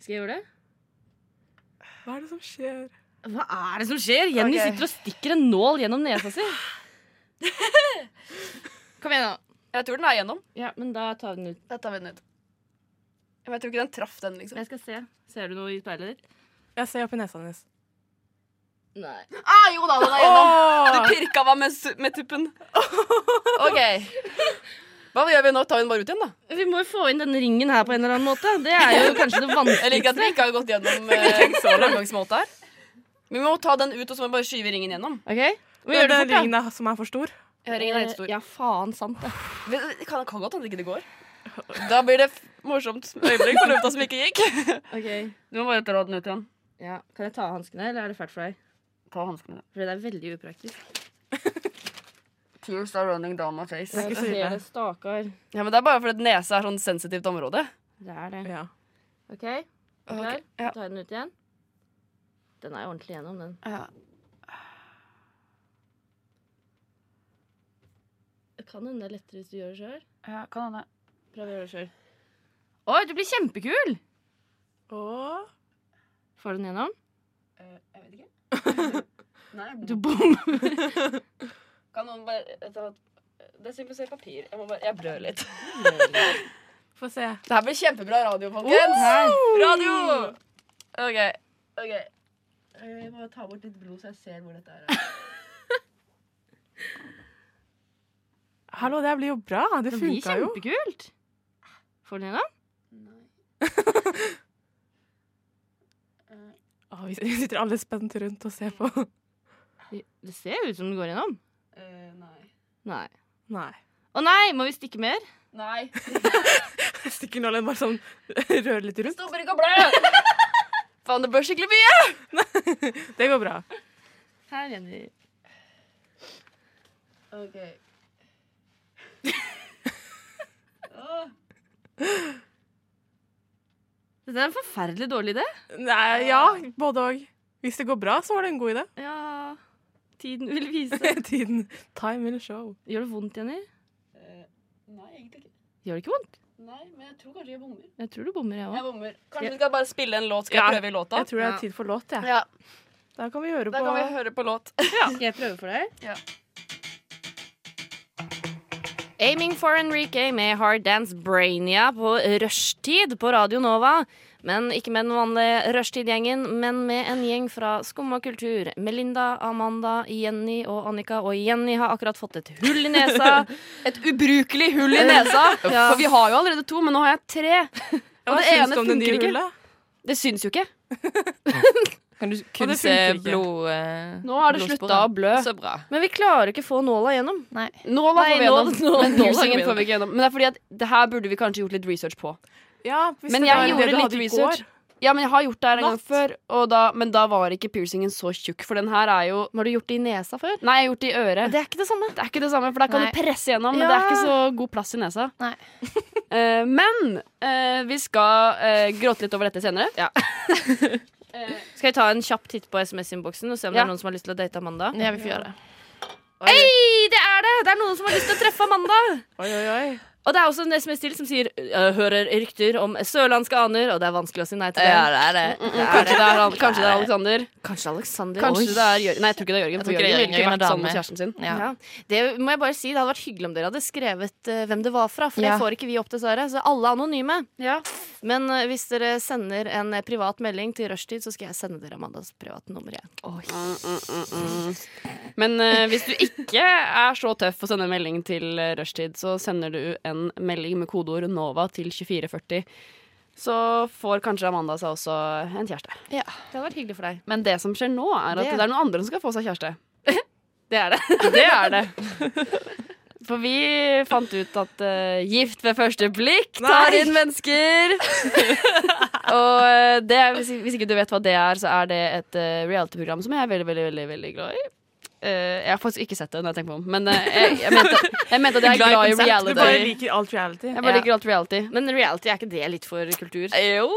C: Skal jeg gjøre det?
F: Hva er det som skjer?
C: Hva er det som skjer? Jenny
E: Ok.
C: sitter og stikker en nål gjennom nesa si.
E: Kom igjen, da. Jeg tror den er igjennom.
C: Ja, men da tar vi den ut.
E: Da tar vi den ut. Ja, Men jeg tror ikke den traff den, liksom.
C: Jeg skal se. Ser du noe i speilet ditt?
F: Jeg ser oppi nesa hennes.
C: Nei.
E: Ah, jo da, den er igjennom. Du pirka meg med, su- med tuppen. OK. Hva gjør vi nå? Tar vi den bare ut igjen, da?
C: Vi må jo få inn denne ringen her på en eller annen måte. Det er jo kanskje det
E: Jeg liker at
C: vanskeligste.
E: vi ikke har gått gjennom eh, framgangsmåte her. Men vi må ta den ut, og så må vi bare skyve ringen gjennom.
C: Ok?
F: Det
C: Vi gjør
F: er
C: det
F: den
C: fort, ja.
F: ringen der som er for stor.
E: Ja, Ringen er helt stor.
C: Ja, faen sant det.
E: Vi- Kan, kan godt hende ikke det går. Da blir det f morsomt øyeblikk for lufta som ikke gikk.
C: Ok.
E: Du må bare dra den ut igjen.
C: Ja. Kan jeg ta av hanskene, eller er det fælt for deg?
E: Ta hanskene.
C: Fordi det er veldig upraktisk.
E: Tears are running down my face.
F: ikke så ille.
C: Hele Stakkar.
E: Ja, men Det er bare fordi nesa er sånn sensitivt område.
C: Det er det.
F: Ja.
C: OK, er du klar?
E: Ok, ja.
C: Ta den ut igjen. Den er jo ordentlig gjennom, den.
E: Ja.
C: Det Kan hende det er lettere hvis du gjør det sjøl.
E: Ja, kan hende.
C: Prøv å gjøre det sjøl. Oi, du blir kjempekul!
F: Og
C: Får du den gjennom?
E: Eh, jeg vet ikke. Nei,
C: Du bom.
E: kan noen bare ta Desinfisere papir. Jeg, må bare, jeg blør litt.
F: få se.
E: Det her blir kjempebra radio, folkens. Radio! OK. ok. Jeg må ta bort litt blod, så jeg ser hvor dette er.
F: Hallo, det her blir jo bra. Det
C: Det blir
F: funka jo.
C: kjempekult. Får du den gjennom?
F: Å, vi sitter alle spent rundt og ser på.
C: Det ser ut som den går gjennom.
E: nei.
C: Nei.
F: Nei.
C: Å nei, må vi stikke mer?
E: Nei.
F: Stikker nålen bare sånn rører litt rundt.
E: Stopper ikke å blø! Faen, det blør skikkelig mye.
F: Det går bra.
C: Her, Jenny.
E: Ok. Det er en forferdelig dårlig idé.
F: Nei, ja, både òg. Hvis det går bra, så var det en god idé.
E: Ja, tiden vil vise.
F: Tiden. Time will show.
E: Gjør det vondt, Jenny?
K: Eh, Nei, egentlig ikke.
E: Gjør det ikke vondt?
K: Nei, men jeg tror kanskje jeg bommer.
E: Jeg tror du bommer, jeg
K: Jeg
E: òg.
K: bommer. Kanskje vi skal bare spille en låt? Skal jeg prøve i låta?
F: Jeg tror det er tid for låt, jeg.
K: Ja.
F: Da kan vi høre
K: Da
F: på
K: kan vi høre på låt.
E: Skal jeg prøve for deg?
K: Ja.
C: Aiming for Enrique med Hard Dance Brainia på rushtid på Radio Nova. Men ikke med den vanlige rushtid-gjengen, men med en gjeng fra Skumma kultur. Melinda, Amanda, Jenny og Annika. Og Jenny har akkurat fått et hull i nesa.
E: Et ubrukelig hull i nesa.
C: Ja.
E: For vi har jo allerede to, men nå har jeg tre. Og det
F: syns
E: ene
F: du om det nye
E: funker ikke.
F: hullet?
E: Det syns jo ikke.
G: Kan du
E: Og
G: kun
E: det
G: se
E: funker ikke.
G: blod...
E: Nå har det slutta å blø.
G: Så bra.
C: Men vi klarer ikke få nåla gjennom.
G: Nei.
E: Nåla får vi
C: Nei, nå-
E: gjennom.
C: nå-
E: Men
C: nåla
E: piercingen
C: går
E: får vi ikke gjennom. Men det er fordi at det her burde vi kanskje gjort litt research på.
F: Ja, hvis
E: Men
F: det var
E: jeg
F: det du
E: gjorde litt
F: hadde i
E: research.
F: går.
E: Ja, men jeg har gjort det her en gang
F: Natt.
E: før, og da, men da var ikke piercingen så tjukk. For den her er jo
C: Har du gjort det i nesa før?
E: Nei, jeg har gjort det i øret.
C: Det er ikke det samme.
E: Det er ikke det samme, for der kan
G: Nei.
E: du presse gjennom, men
C: Ja.
E: det er ikke så god plass i nesa.
G: Nei.
E: Eh, men eh, vi skal eh, gråte litt over dette senere.
C: Skal vi ta en kjapp titt på SMS-innboksen og se om
E: Ja.
C: det er noen som har lyst til å date Amanda?
G: Ja, vi får gjøre det.
C: Hei, det er det! Det er noen som har lyst til å treffe Amanda.
F: Oi, oi, oi.
C: Og det er også en SMS til som sier «Jeg hører rykter om sørlandske aner, og det er vanskelig å si nei til det. Mm,
G: det er det.
E: Kanskje det er, kanskje det er Alexander.
C: Kanskje Alexander.
E: Kanskje
C: Oi.
E: det er Jørgen. Nei, jeg tror ikke det er Jørgen. For
G: tror ikke det
E: Jørgen
G: er
E: ville ikke
G: Jørgen,
E: vært
G: Jørgen
E: sammen
G: er
E: med kjæresten sin.
G: Ja.
C: Ja. Det må jeg bare si, det hadde vært hyggelig om dere hadde skrevet eh, hvem det var fra, for
G: Ja.
C: det får ikke vi opp, dessverre. Så alle er anonyme.
E: Ja.
C: Men eh, hvis dere sender en eh, privat melding til rushtid, så skal jeg sende dere Amandas privatnummer igjen.
E: Mm, mm, mm, mm. Men eh, hvis du ikke er så tøff å sende en melding til eh, rushtid, så sender du en melding med kodeord NOVA til 2440. Så får kanskje Amanda seg også en kjæreste.
C: Det hadde vært hyggelig for deg.
E: Men det som skjer nå, er at
C: Det.
E: det, er noen andre som skal få seg kjæreste.
C: Det er det.
E: Det er det. For vi fant ut at eh, gift ved første blikk tar inn mennesker. Og eh, det, er- hvis, hvis ikke du vet hva det er, så er det et eh, reality-program som jeg er veldig, veldig, veldig, veldig glad i. Eh, jeg har faktisk ikke sett det, når jeg tenker meg om men eh, jeg, jeg, mente, jeg mente at jeg er glad, i
F: Du bare
E: reality.
F: liker alt reality.
E: Jeg bare liker alt reality.
C: Men reality, er ikke det litt for kultur?
E: Jo.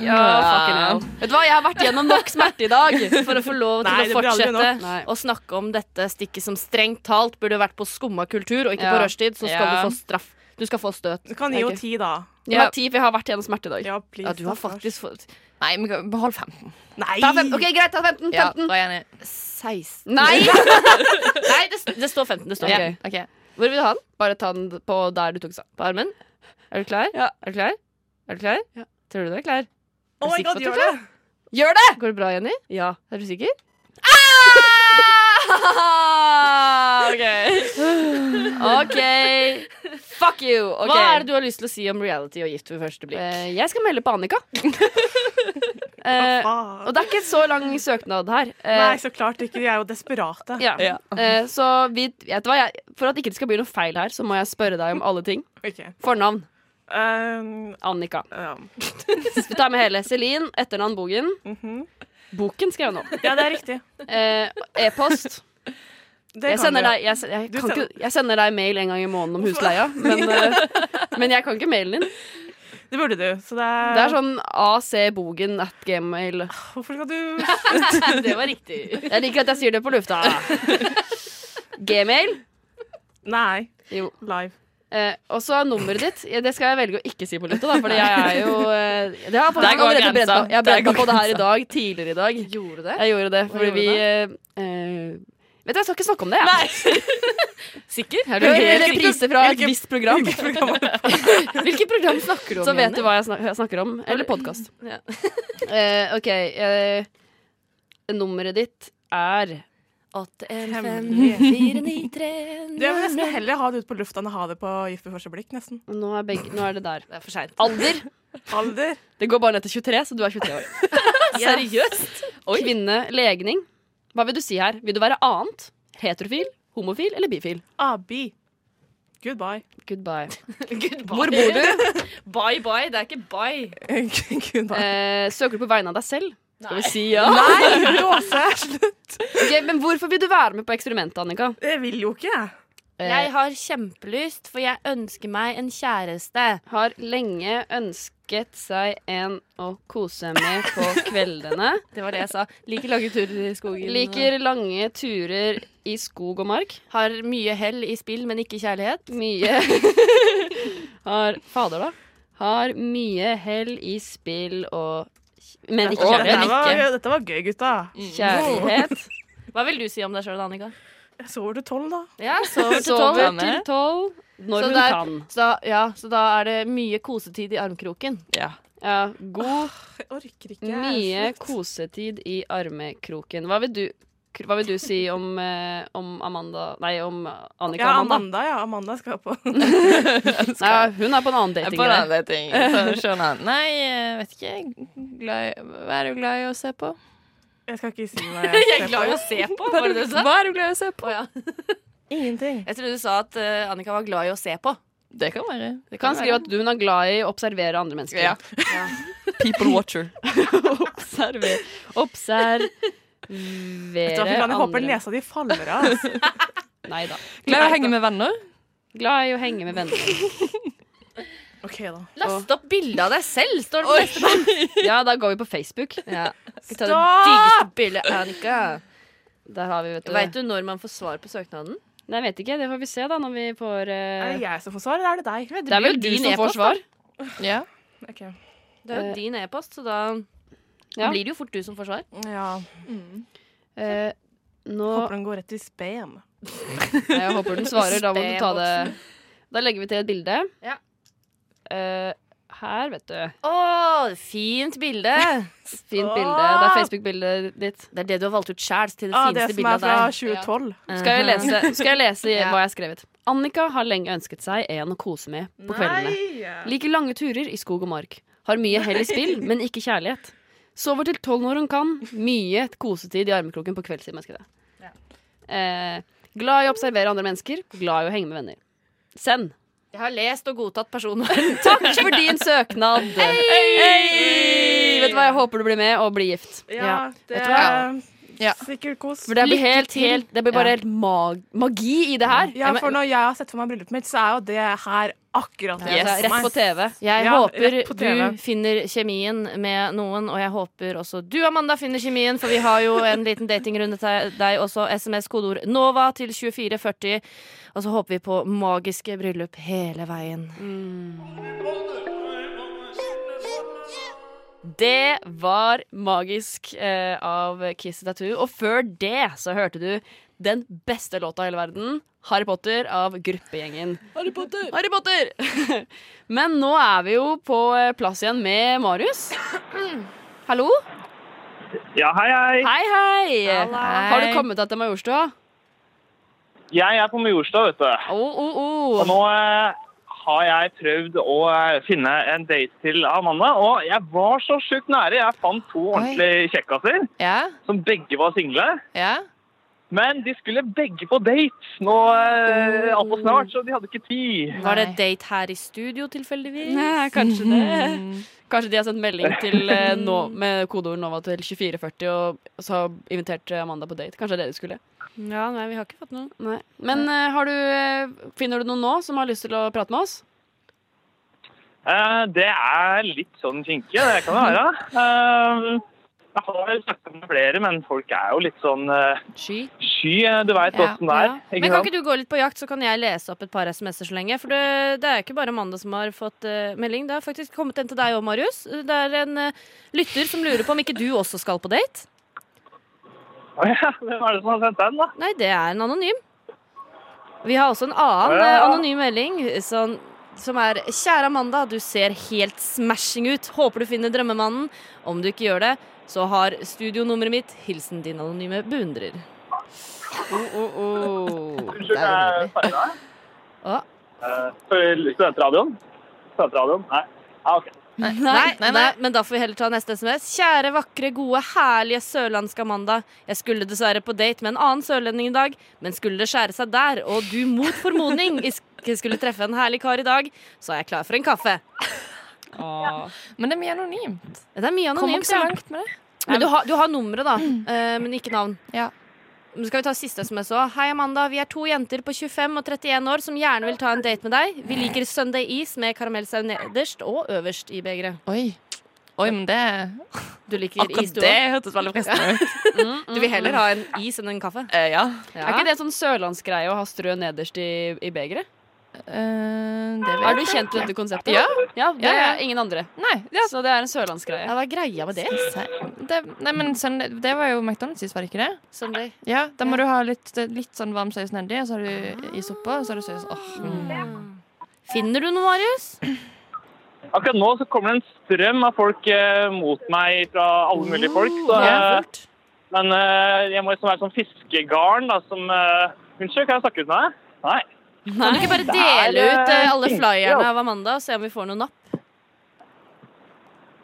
E: Ja, fucking hell. Vet du hva, jeg har vært gjennom nok smerte i dag for å få lov
C: Nei,
E: til
C: til å
E: å
F: det blir aldri
E: fortsette.
C: fortsette å snakke om dette stikket som strengt talt burde vært på skumma kultur og ikke
E: Ja.
C: på rushtid, så skal
E: Ja.
C: du få straff. Du skal få støt.
F: Du kan gi henne
E: Ok.
F: ti, da.
E: Jeg har ti, for jeg har vært gjennom smerte i dag.
F: Ja, please.
C: Ja, du har
F: stakkars.
C: faktisk fått
G: Nei, men behold 15.
F: Nei!
E: Ta fem, ok, greit, ta 15.
G: Ja,
E: 15.
G: da er jeg enig.
C: 16
E: Nei!
C: Nei, det, det står 15. Det står
E: Ja.
C: 15.
G: Ok.
E: Hvor vil du ha den? Bare ta den på der du tok den.
C: På armen. Er du klar?
E: Ja.
C: Er du klar? Er du klar?
E: Ja.
C: Tror du du er klar?
F: Oh my
C: sikker
F: god,
C: på at
F: gjør
C: du
F: det!
E: Gjør det!
C: Går det bra, Jenny? Ja. Er du sikker?
E: Ah! OK. OK. Fuck you.
C: Hva er det du har lyst til å si om reality og gift ved første blikk?
E: Eh, Jeg skal melde på Annika. Eh,
F: Faen.
E: og det er ikke så lang søknad her. Eh,
F: Nei, så klart ikke. De er jo desperate.
E: ja. Eh, så vi, vet du hva, jeg, for at ikke det skal bli noe feil her, så må jeg spørre deg om alle ting.
F: Ok.
E: Fornavn
F: Um,
E: Annika.
F: ja.
E: Vi tar med hele. Celine, etternavn Bogen.
F: Mhm.
E: Boken skrev jeg nå.
F: ja, det er riktig.
E: Eh, E-post.
F: Det
E: jeg,
F: kan
E: sender
F: du.
E: deg, jeg, se- jeg,
F: Du
E: kan
F: sender-
E: ikke, jeg sender deg mail en gang i måneden om husleia, men, eh, men jeg kan ikke mailen din.
F: Det burde du. Så det er,
E: Det er sånn acbogen at gmail.
F: Hvorfor skal du
C: Det var riktig.
E: Jeg liker at jeg sier det på lufta. Gmail.
F: Nei.
E: Jo.
F: Live.
E: Eh, og så er nummeret ditt. Ja, Det skal jeg velge å ikke si på lufta, da, fordi jeg er jo eh, Det har jeg
G: Der
E: faktisk
G: går
E: allerede
G: grensa.
E: brent meg. Jeg
G: Der
E: brent meg
G: går
E: på det her i
G: grensa.
E: dag, tidligere i dag.
C: Gjorde det?
E: Jeg gjorde det fordi
C: gjorde
E: vi eh, eh, Vet du, jeg skal ikke snakke om det, jeg.
C: Sikker?
E: Er du helt reprise fra et visst program?
C: Hvilket program snakker du om?
E: Så vet du
C: Jenny?
E: hva jeg snak- jeg snakker om. Eller podkast.
C: Ja.
E: Eh, OK. eh, nummeret ditt er
C: 815-493
F: Jeg vil nesten heller ha det ut på lufta enn å ha det på Gift ved første blikk. nesten
E: Nå er, begge, nå er det der.
C: Det er for seint.
E: Alder.
F: Alder.
E: Det går bare ned til 23, så du er 23 år.
C: Seriøst?
E: Kvinne. Legning. Hva vil du si her? Vil du være annet? Heterofil? Homofil eller bifil?
F: Abi. Goodbye.
E: Goodbye.
C: Hvor bor du? Bye, bye. Det er ikke bye.
F: Goodbye.
E: Eh, søker du på vegne av deg selv? Skal vi si ja?
F: Nei, Åse, slutt.
E: Ok, men hvorfor vil du være med på eksperimentet, Annika?
F: Jeg vil jo ikke, jeg.
C: Jeg har kjempelyst, for jeg ønsker meg en kjæreste.
E: Har lenge ønsket seg en å kose med på kveldene.
C: Det var det jeg sa. Liker lange turer i skogen.
E: Liker lange turer i skog og mark.
C: Har mye hell i spill, men ikke kjærlighet.
E: Mye Har Fader, da. Har mye hell i spill og Men ikke
F: Å,
E: kjærlighet.
F: dette, var, dette var gøy, gutta.
C: Mm.
E: Kjærlighet.
C: Hva vil du si om deg sjøl, Annika?
F: Jeg sover til tolv, da.
C: Ja, sover til
E: Sover
C: tolv.
E: til tolv når
C: så
E: hun
C: det er-
E: kan.
C: Så, da- ja, så da er det mye kosetid i armkroken.
E: Ja. ja. God
F: Jeg orker ikke.
E: Mye kosetid i armekroken. Hva vil du, hva vil du si om, eh, om Amanda Nei, om Annika
F: Ja,
E: Amanda?
F: Amanda, ja. Amanda skal på.
E: Nei, hun er på en annen
G: Jeg
E: dating.
G: er på en
E: der.
G: annen dating. Så skjønner han. Nei, jeg vet ikke. Glad i, hva er du glad i å se på?
F: Jeg skal ikke si hva jeg
C: er
F: ser
C: glad i
F: på.
C: å se på,
G: Hva
C: var det
G: er du,
C: det du sa?
G: hva er du glad i å se på?
C: Å, ja.
F: Ingenting.
C: Jeg trodde du sa at eh, Annika var glad i å se på.
G: Det kan være. Det
E: Kan skrive at hun er glad i å observere andre mennesker.
G: Ja. People watcher.
E: Observer. Observere
F: Vet du hva, fy faen, Jeg håper
E: andre
F: nesa di faller av. ass.
E: Nei da.
G: Glad i å henge med venner.
E: Glad i å henge med venner.
F: OK, da.
C: Last opp bilde av deg selv, står det på neste punkt.
E: Ja, da går vi på Facebook.
C: Ja. Skal ta det
F: Stopp!
C: diggeste bildet, Annika.
E: Der har vi, vet du.
C: Veit du når man får svar på søknaden?
E: Nei, jeg vet ikke. Det får vi se da når vi får eh,
F: Er det jeg som får svar, eller er det deg?
E: Det er vel
C: blir
E: du
C: jo din
E: som får
C: e-post,
E: svar.
G: Ja.
F: Ok.
C: Det er jo din e-post, så da
E: Ja.
C: blir det jo fort du som får svar.
F: Ja.
E: Eh, nå
F: Håper den går rett i spam.
E: Nei, Jeg håper den svarer. Da må du ta det Da legger vi til et bilde.
C: Ja.
E: Eh, her, vet du.
C: Å, fint bilde!
E: Fint bilde. Det er Facebook-bildet ditt.
C: Det er det du har valgt ut sjæl til det
F: Ah, det
C: fineste
F: som er
C: bildet
F: fra
C: av deg.
F: 2012.
E: Skal jeg lese, skal jeg lese
C: Ja.
E: hva jeg har skrevet? Annika har lenge ønsket seg en å kose med på kveldene. Liker lange turer i skog og mark. Har mye hell i spill, men ikke kjærlighet. Sover til tolv når hun kan. Mye kosetid i armekroken på kveldstid. men jeg skrev det. Eh, glad i å observere andre mennesker. Glad i å henge med venner. Send.
C: Jeg har lest og godtatt personvern.
E: Takk for din søknad. Hey! Vet du hva, jeg håper du blir med og blir gift.
F: Ja, det
G: hva?
F: er
G: Ja.
F: sikkert kos.
E: For det blir,
C: Lykke
E: helt,
C: til.
E: helt, det blir bare
C: Ja.
E: helt mag magi i det her.
F: Ja, for når jeg har sett for meg bryllupet mitt, så er jo det her akkurat det
E: Altså,
F: som
E: Rett på
F: er.
E: TV.
C: Jeg
F: Ja,
C: håper
F: rett på TV.
C: du finner kjemien med noen, og jeg håper også du, Amanda, finner kjemien, for vi har jo en liten datingrunde til deg også. SMS kodeord NOVA til 2440. Og så håper vi på magiske bryllup hele veien.
E: Det var magisk eh, av Kiss the Tattoo. Og før det så hørte du den beste låta i hele verden. Harry Potter av gruppegjengen. Harry Potter! Harry Potter! Men nå er vi jo på eh, plass igjen med Marius. Hallo?
I: Ja, hei, hei.
E: Hei,
C: Hei.
E: hei! Har du kommet deg til Majorstua?
I: Jeg er på Majorstad, vet du.
E: Å, å, å.
I: Og nå eh, har jeg prøvd å eh, finne en date til Amanda, og jeg var så sjukt nære. Jeg fant to ordentlige kjekkaser
G: Ja.
I: som begge var single.
G: Ja.
I: Men de skulle begge på date nå eh, altfor snart, så de hadde ikke tid.
C: Var det date her i studio, tilfeldigvis?
E: Nei, kanskje det. Kanskje de har sendt melding til eh, nå, med kodeord NOVA til 2440 og og så har invitert eh, Amanda på date. Kanskje det er det de skulle.
C: Ja, nei, vi har ikke fått noe.
E: Nei. Men eh, har du, eh, finner du noen nå som har lyst til å prate med oss?
I: Eh, det er litt sånn kinkig, det kan det være. Eh, jeg har snakket med flere, men folk er jo litt sånn eh,
E: Sky.
I: sky. eh, Du veit
G: Ja,
I: åssen det er.
C: Men
I: Ikke
C: kan
I: sant?
C: ikke du gå litt på jakt, så kan jeg lese opp et par SMS-er så lenge? For det, det er ikke bare Amanda som har fått eh, melding. Det har faktisk kommet en til deg òg, Marius. Det er en eh, lytter som lurer på om ikke du også skal på date.
I: Å ja, Hvem er det som har sendt den, da?
C: Nei, det er en anonym. Vi har også en annen eh, anonym melding sånn, som er Kjære Amanda, du ser helt smashing ut. Håper du finner drømmemannen. Om du ikke gjør det, så har studionummeret mitt. Hilsen din anonyme beundrer.
I: Unnskyld, jeg feila.
C: Å.
I: Studentradioen? Studentradioen? Nei. Ja, OK.
C: Nei, nei, men da får vi heller ta neste SMS. Kjære, vakre, gode, herlige sørlandske Amanda. Jeg skulle dessverre på date med en annen sørlending i dag, men skulle det skjære seg der, og du mot formodning ikke skulle treffe en herlig kar i dag, så er jeg klar for en kaffe.
E: Åh.
G: Men det er mye anonymt.
C: Det er mye
G: Kom
C: anonymt.
G: ikke så
C: ja.
G: langt Mm. med det.
C: Men du har, du har nummeret, da, eh, men ikke navn. Men Skal vi ta siste SMS òg? Hei, Amanda. Vi er to jenter på 25 og 31 år som gjerne vil ta en date med deg. Vi liker Sunday is med karamellsaus nederst og øverst i begeret.
G: Oi. Oi, men det
C: Du liker
G: Akkurat
C: is, du
G: det Mm.
C: også?
G: hørtes veldig fristende ut.
C: Du vil heller ha en is enn en kaffe?
G: Eh, ja.
E: Er ikke det sånn sørlandsgreie å ha strø nederst i, i begeret?
G: Eh, vet
E: er du
G: jeg
E: kjent
G: ikke.
E: med dette konseptet?
G: Ja.
E: ja det
G: Ja, ja.
E: er ingen andre.
G: Nei,
E: Så det er en sørlandsgreie.
C: hva er greia med det?
G: det, nei, men sånn, det var jo McDonald's-is, var det ikke det?
C: Sunday.
G: Ja, Da må du ha litt, litt sånn varm saus nedi, og så har du is oppå, og så har du saus Åh, mm.
C: Mm. Finner du noe, Marius?
I: Akkurat nå så kommer det en strøm av folk eh, mot meg fra alle
C: Oh,
I: mulige folk. Så, eh, men eh, jeg må liksom være sånn fiskegarn da, som eh, Unnskyld, kan jeg snakke ut med deg? Nei.
C: Kan du ikke bare dele ut eh, alle flyerne av Amanda og se om vi får noe napp?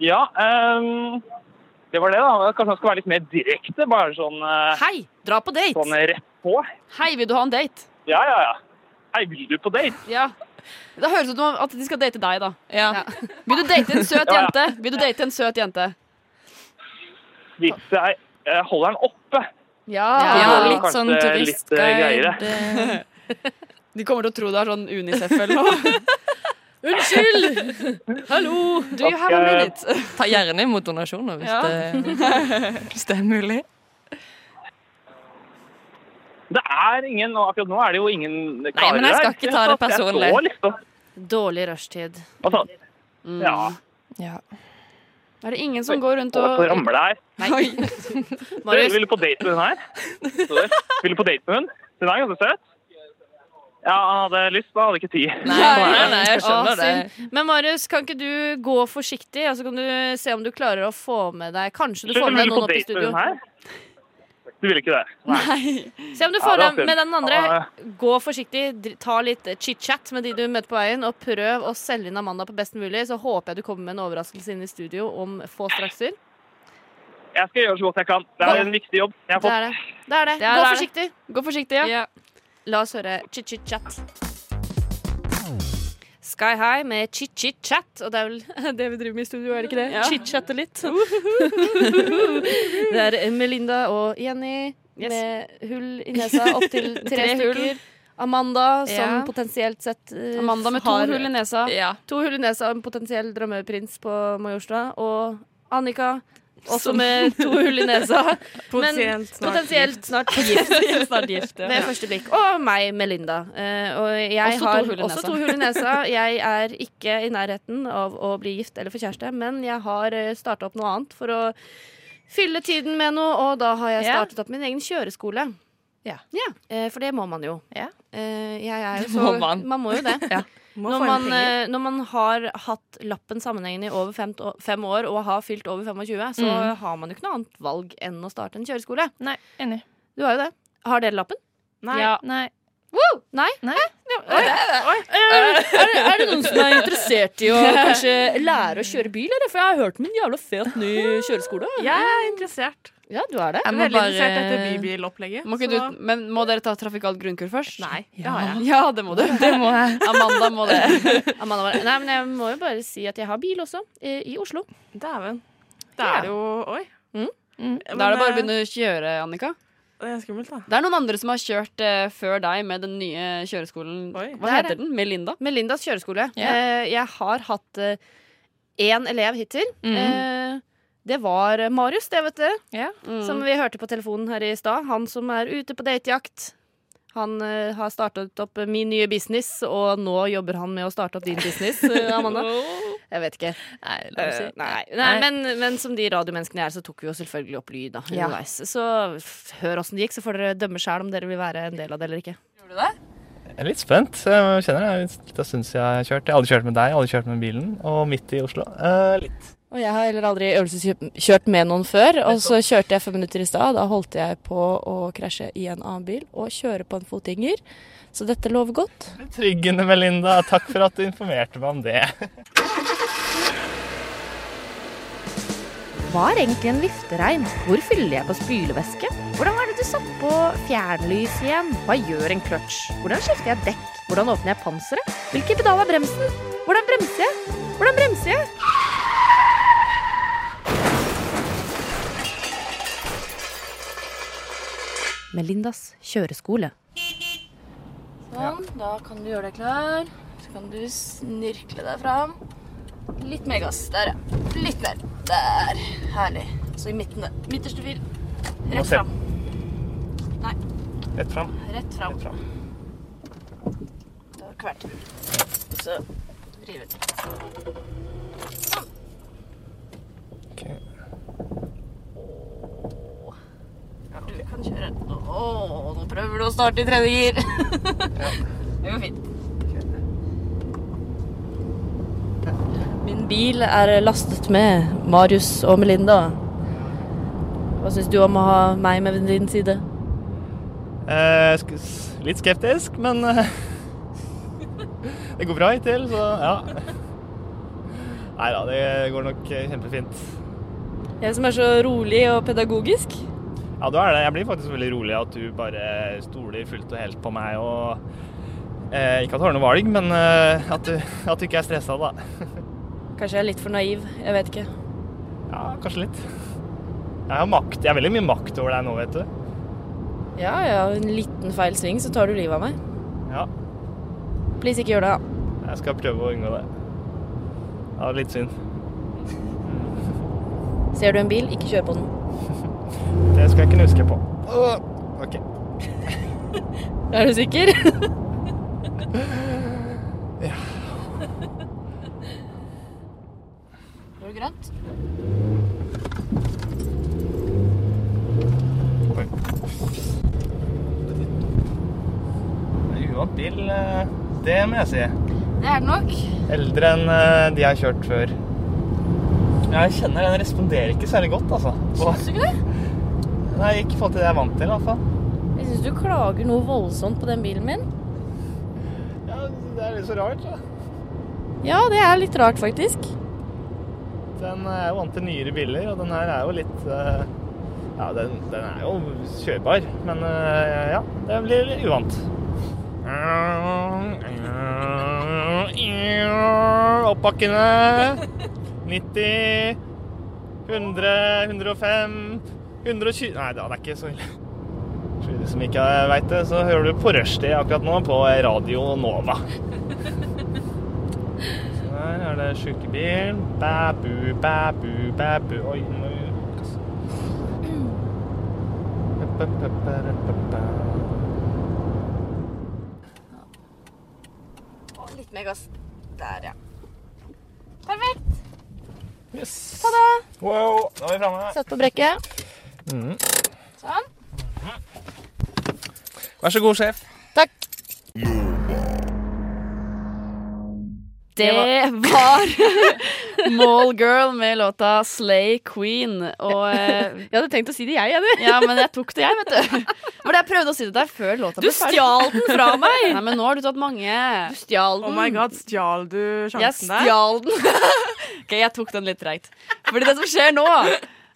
I: Ja, ehm, det var det, da. Kanskje man skal være litt mer direkte. Bare sånn eh,
C: Hei, dra på date!
I: Sånn rett på.
E: Hei, vil du ha en date?
I: Ja, ja, ja. Hei, vil du på date?
E: Ja. Det høres ut som at de skal date deg, da.
G: Ja.
E: Vil du date en søt
I: Ja, ja.
E: jente? Vil du date en søt jente?
I: Hvis jeg eh, holder den oppe.
E: Ja.
I: Ja, litt Kanskje sånn litt, eh, turistguide.
E: De kommer til å tro du er sånn Unicef eller noe. Unnskyld! Hallo! Do you have
I: eh,
E: a minute?
G: Ta gjerne imot donasjoner hvis,
E: Ja.
G: det, hvis det er mulig.
I: Det er ingen og Akkurat nå er det jo ingen
G: Nei,
I: karer
G: men jeg skal
I: her.
G: ikke ta det
I: Så jeg
G: personlig.
I: står liksom.
C: Dårlig rushtid.
I: Altså, ja.
E: Mm. Er det ingen som går rundt
I: Og
E: og
I: så ramler det her. Du,
E: Marius.
I: vil du på date med hun her? Står det. Vil du på date med hun? Hun er ganske søt. Ja, han hadde lyst, men han hadde ikke tid. Sånn er det.
C: Å, synd. Men Marius, kan ikke du gå forsiktig, og så kan du se om du klarer å få med deg Kanskje du
I: Unnskyld,
C: får med
I: vil
C: deg
I: du på
C: noen opp i
I: date med
C: studio.
I: hun her? Du vil ikke det?
C: Se om du får
I: Ja, det var
C: deg med
I: synd.
C: den andre.
I: Ja,
C: Gå forsiktig, dr- ta litt eh, chit-chat med de du møter på veien, og prøv å selge inn Amanda på best mulig. Så håper jeg du kommer med en overraskelse inn i studio om få strakser.
I: Jeg skal gjøre så godt jeg kan. Det er en viktig jobb. Jeg har
C: Det
I: fått
C: er det. Det er det.
E: Det er
C: Gå
E: det.
C: forsiktig.
E: Gå forsiktig, ja.
C: La oss høre chit-chit-chat. Sky High med chit-chit-chat. Og det er vel det vi driver med i studio, er det ikke det?
E: Ja.
C: Chit-chatte litt. det er Melinda og Jenny
E: Yes.
C: med hull i nesa opptil tre
E: Tre hull.
C: stykker. Amanda som
E: Ja.
C: potensielt sett eh,
E: Amanda med to
C: har-
E: hull i nesa.
C: To hull i nesa, en potensiell drømmeprins på Majorstua. Og Annika, også
E: Som-
C: med to hull i nesa.
F: Potensielt snart
C: potensielt snart gift. Ved første blikk. Og meg, Melinda. Eh, og jeg
E: Også to
C: har
E: hull i
C: også
E: nesa.
C: to hull i nesa. Jeg er ikke i nærheten av å bli gift eller få kjæreste, men jeg har starta opp noe annet for å fylle tiden med noe, og da har jeg
E: Ja.
C: startet opp min egen kjøreskole.
G: Ja.
C: Eh, for det må man jo. Eh, jeg er jo
G: Det
C: så
G: må man.
C: må jo det.
F: Må
C: Når
F: få inn
C: man,
F: penger.
C: eh, når man har hatt lappen sammenhengende i over fem, å- fem år og har fylt over 25, så
G: Mm.
C: har man jo ikke noe annet valg enn å starte en kjøreskole.
G: Nei, enig.
C: Du har jo det. Har dere lappen?
F: Nei.
E: Ja.
G: Nei.
C: Woo! Nei?
G: Nei.
C: Oi. Er, det- er det noen som er interessert i å kanskje lære å kjøre bil, eller? For jeg har hørt om en jævla fet ny kjøreskole.
F: Jeg er interessert.
C: Ja, du er det.
G: Jeg må
F: Veldig interessert etter
G: bare
F: bybilopplegget.
E: Må ikke
F: så-
E: du, men må dere ta trafikalt grunnkurs først?
F: Nei, det har jeg.
E: Ja, det må du.
G: Det må jeg.
E: Amanda må det.
C: Amanda, var- nei, men jeg må jo bare si at jeg har bil også, eh, i, i Oslo.
F: Dæven. Det er jo Oi.
E: Mm.
F: Mm.
E: Da er det bare å begynne å kjøre, Annika.
F: eh, Det er skummelt, da.
E: Det er noen andre som har kjørt eh, før deg med den nye kjøreskolen.
F: Oi.
E: Hva
C: Det er
E: heter den? Melinda?
C: Melindas kjøreskole.
G: Ja.
C: Eh, jeg har hatt eh, én elev hittil.
G: Mhm.
C: Eh, det var eh, Marius, det, vet dere.
G: Ja.
C: Som vi hørte på telefonen her i stad. Han som er ute på datejakt. Han eh, har startet opp eh, min nye business, og nå jobber han med å starte opp din business, eh, Amanda. Jeg vet ikke.
G: Nei, la oss
C: Eh,
G: si.
C: nei,
G: Nei.
C: nei, men, men som de radiomenneskene jeg er, så tok vi jo selvfølgelig opp lyd da,
G: Ja.
C: underveis. Så f- hør åssen det gikk, så får dere dømme sjæl om dere vil være en del av det eller ikke.
L: Jeg er litt spent. Jeg kjenner det er litt av stund siden jeg har kjørt. Jeg har aldri kjørt med deg, jeg har aldri kjørt med bilen, og midt i Oslo. Eh, litt.
C: Og jeg har heller aldri øvelseskjørt med noen før. Og så kjørte jeg fem minutter i stad. Da holdt jeg på å krasje i en annen bil og kjøre på en fotgjenger. Så dette lover godt.
L: Tryggende, Melinda. Takk for at du informerte meg om det.
M: Hva er egentlig en viftereim? Hvor fyller jeg på spylevæske? Hvordan er det du satt på fjernlys igjen? Hva gjør en kløtsj? Hvordan skifter jeg dekk? Hvordan åpner jeg panseret? Hvilken pedal er bremsen? Hvordan bremser jeg? Hvordan bremser jeg?
N: Melindas kjøreskole.
O: Sånn, da kan du gjøre deg klar. Så kan du snirkle deg fram. Litt mer gass. Der, ja. Litt mer. Der. Herlig. Så i midten der. Midterste fil.
I: Må
O: Rett
I: se.
O: fram. Nei,
I: Rett fram.
O: rett fram.
I: fram.
O: Da kvert. Så rive ut. Ja, du kan kjøre. Å, nå prøver du å starte i tredje gir. Det går fint.
C: Min bil er lastet med Marius og Melinda. Hva syns du om å ha meg med ved din side?
I: Eh, sk- s- litt skeptisk, men eh, det går bra hittil, så ja. Nei da, det går nok eh, kjempefint.
C: Jeg som er så rolig og pedagogisk.
I: Ja, du er det. Jeg blir faktisk veldig rolig av at du bare stoler fullt og helt på meg og eh, Ikke at du har noe valg, men eh, at, du, at du ikke er stressa, da.
C: Kanskje jeg er litt for naiv. Jeg vet ikke.
I: Ja, kanskje litt. Jeg har makt. Jeg har veldig mye makt over deg nå, vet du.
C: Ja, ja, en liten feil sving, så tar du livet av meg.
I: Ja.
C: Please, ikke gjør det, da.
I: Jeg skal prøve å unngå det. Ja, litt synd.
C: Ser du en bil, ikke kjør på den.
I: Det skal jeg kunne huske på. OK.
C: Er du sikker?
O: Går det grønt?
I: Uvant bil, eh, det må jeg si.
O: Det er det nok.
I: Eldre enn eh, de jeg har kjørt før. Jeg kjenner den responderer ikke særlig godt, altså. På-
C: Syns du ikke det?
I: Nei, ikke i forhold til det jeg er vant til, i hvert fall.
C: Jeg syns du klager noe voldsomt på den bilen min.
I: Ja, det er litt så rart, da.
C: Ja, det er litt rart, faktisk.
I: Den er jo vant til nyere biler, og den her er jo litt eh, Ja, den, den er jo kjørbar, men eh, ja, det blir litt uvant. Oppbakkene 90 100 105 120 Nei da, det er ikke så ille. For de som ikke veit det, så hører du på rushtid akkurat nå på Radio Nova. Så Her er det sjukebil. Bæbu, bæbu, bæbu Oi, nå må vi kasse.
O: Og litt mer gass. Der, ja. Perfekt.
I: Yes.
O: Ha det.
I: Wow, da er vi framme.
O: Sett på brekket.
I: Mhm.
O: Sånn.
I: Vær så god, sjef.
O: Takk.
E: Det var Mallgirl med låta 'Slay Queen'. Og Jeg hadde tenkt å si det, jeg, Jenny. Ja, men jeg tok det, jeg, vet du. For jeg prøvde å si det der før låta
F: Du
E: ble ferdig.
F: stjal den fra meg!
E: Nei, men nå har du tatt mange. Du stjal den.
F: Oh my god, stjal du sjansen
E: Mm. Jeg stjal den. ok, jeg tok den litt treigt. Fordi det som skjer nå,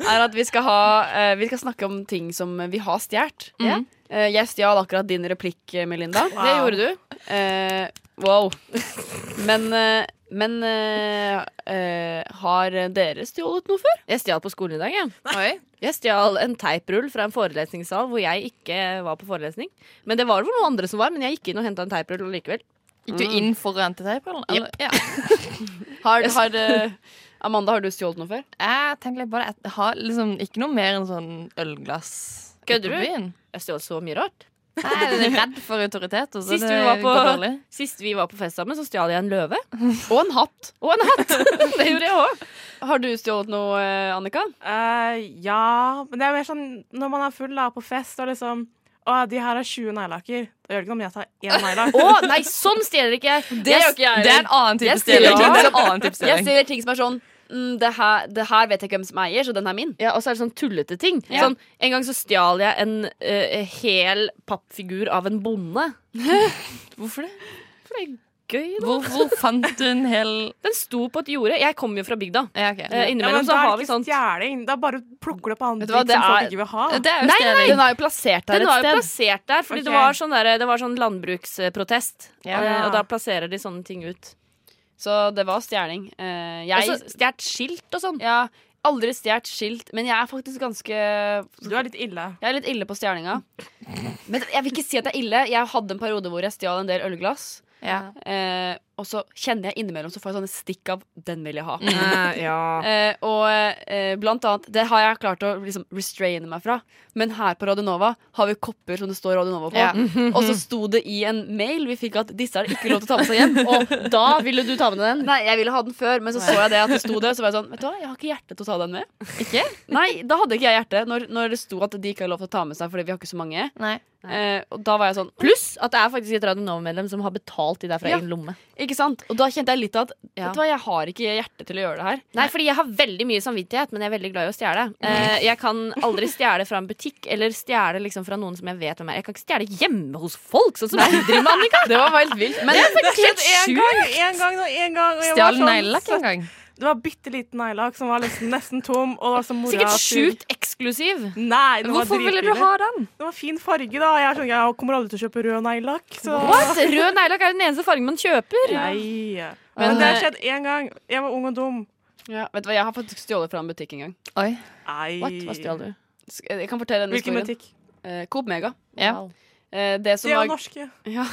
E: er at vi skal, ha, eh, vi skal snakke om ting som vi har stjålet.
C: Ja.
E: Eh, jeg stjal akkurat din replikk, eh, Melinda.
C: Wow.
E: Det gjorde du. Eh, wow. Men, eh, men eh, eh, har dere stjålet noe før?
C: Jeg stjal på skolen i dag, jeg. Jeg stjal en teiprull fra en forelesningssal hvor jeg ikke var på forelesning. Men det var vel noen andre som var, men jeg gikk inn og henta en teiprull likevel.
G: Gikk du inn for antiteiprull? eller? Ja.
E: Har, har, eh, Amanda, har du stjålet noe før?
G: Jeg tenkte litt bare at jeg har liksom ikke noe mer enn sånn ølglass.
E: Kødder
G: ute på
E: du?
G: byen.
C: Jeg stjal så mye rart.
G: Nei, jeg er redd for autoritet. og så
C: Sist
G: det
C: vi, var
G: går dårlig.
C: på, sist vi var på fest sammen, så stjal jeg en løve.
E: Og en hatt.
C: Og en hatt.
E: Det gjorde jeg òg. Har du stjålet noe, eh, Annika?
F: Eh, ja, men det er mer sånn når man er full da, på fest og liksom Å, de her har 20 neglelakker. Da gjør det ikke noe om jeg tar én neglelakk.
C: Å, nei, sånn stjeler ikke jeg!
E: Det gjør ikke jeg.
F: Det er en annen type
E: Jeg stjeler
F: stjeling.
E: ting-
F: Det er en annen type
E: Jeg
F: stjeling.
E: stjeler ting som er sånn mm, det, her, det her vet jeg ikke hvem som eier, så den er min.
C: Ja, Og så er det sånn tullete ting.
E: Ja.
C: Sånn, en gang så stjal jeg en eh, hel pappfigur av en bonde.
G: Hvorfor det?
C: For det er gøy, da.
G: Hvor, hvor fant du en hel
C: Den sto på et jorde. Jeg kommer jo fra bygda. Eh, innimellom
F: men
C: så
F: da er
C: har
F: det
C: vi
F: ikke
C: sånt.
F: stjeling. Da bare plukker du opp annen
C: Vet
F: dritt
C: du hva,
F: som
C: det
F: folk
C: er-
F: ikke vil ha.
E: sånn.
C: Det er jo Nei, stjeling. nei.
E: Den er jo plassert der
C: Den
E: et
C: var jo
E: sted.
C: plassert der, fordi det,
E: Ok.
C: var sånn der, det var sånn landbruksprotest.
E: Ja.
C: Eh, Og da plasserer de sånne ting ut.
E: Så det var stjeling. Eh, jeg
C: Og så stjålet skilt og sånn.
E: Ja, Aldri stjålet skilt, men jeg er faktisk ganske Du
F: er litt ille.
E: Jeg er litt ille på stjerninga. Men jeg vil ikke si at jeg er ille. Jeg hadde en periode hvor jeg stjal en del ølglass. Eh, og så kjenner jeg innimellom Så får jeg sånne stikk av 'den vil jeg ha'.
F: Eh, ja.
E: Eh, og eh, blant annet Det har jeg klart å liksom, restraine meg fra. Men her på Radionova har vi kopper som det står Radionova på.
F: Ja.
E: Og så sto det i en mail vi fikk at disse er det ikke lov til å ta med seg hjem. Og da ville du ta med den? Nei, jeg ville ha den før, men så så jeg det at det sto det. Så var jeg sånn Vet du hva, jeg har ikke hjerte til å ta den med. Ikke? Nei, da hadde ikke jeg hjerte. Når, når det sto at de ikke har lov til å ta med seg fordi vi har ikke så mange.
C: Nei.
E: Eh, og da var jeg sånn
C: Pluss at det er faktisk et Radionova-medlem som har betalt de der fra
E: Ja.
C: egen lomme.
E: Ikke sant? Og da kjente jeg litt at
C: Ja.
E: Vet du hva, jeg har ikke hjerte til å gjøre det her.
C: Nei, fordi jeg har veldig mye samvittighet, men jeg er veldig glad i å stjele. Eh, jeg kan aldri stjele fra en butikk eller stjele liksom fra noen som jeg vet hvem er. Jeg kan ikke stjele hjemme hos folk, sånn som du driver med, Annika.
E: Det var helt vilt.
C: Men det er
F: Det
C: faktisk
F: skjedde
C: helt
F: en gang,
C: sjukt.
F: en gang, og en gang. og jeg var
C: Stjal
F: sånn
C: neglelakk en
F: søtt-
C: gang?
F: Det var bitte liten neglelakk som var liksom nesten tom. Og det var så mora
C: Sikkert
F: sur.
C: sjukt eksklusiv.
F: Nei, den var
C: Hvorfor ville du
F: dritbillig.
C: ha den?
F: Den var fin farge, da. Jeg, er sånn, jeg kommer aldri til å kjøpe rød neglelakk. så-
C: What? Rød neglelakk er jo den eneste fargen man kjøper.
F: Nei. Men det
C: eh,
F: har skjedd én gang. Jeg var ung og dum.
E: Ja, vet du hva, Jeg har faktisk stjålet fra en butikk en gang.
C: Oi.
F: Nei.
E: What? Hva stjal du? Sk- Jeg kan fortelle denne
F: Hvilken
E: historien. Eh, Coop Mega.
F: Ja.
E: Wow. Eh, det som
F: De er
E: var-
F: jo norske.
E: Ja.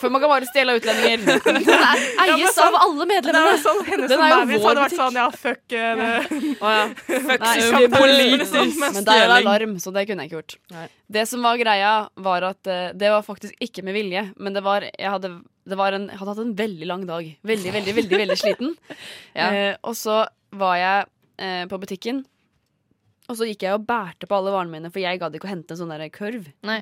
E: For man kan bare stjele av utlendinger. Den er
F: Ja, men
E: eies
F: sånn-
E: av alle medlemmene.
F: Det er jo sånn, Hennes
E: Den
F: og
E: er jo
F: Mauritz hadde
E: vår
F: vært sånn, ja, fuck eh, det. Fuck
E: Nei,
F: kapitalismen,
E: politisk.
F: liksom,
E: Men der er det
F: stjeling.
E: alarm, så det kunne jeg ikke gjort. Det som var greia, var at eh, det var faktisk ikke med vilje, men det var Jeg hadde, det var en, jeg hadde hatt en veldig lang dag. Veldig, veldig, veldig veldig sliten.
C: Ja.
E: Eh, og så var jeg eh, på butikken, og så gikk jeg og bærte på alle varene mine, for jeg gadd ikke å hente en sånn der kurv.
C: Nei.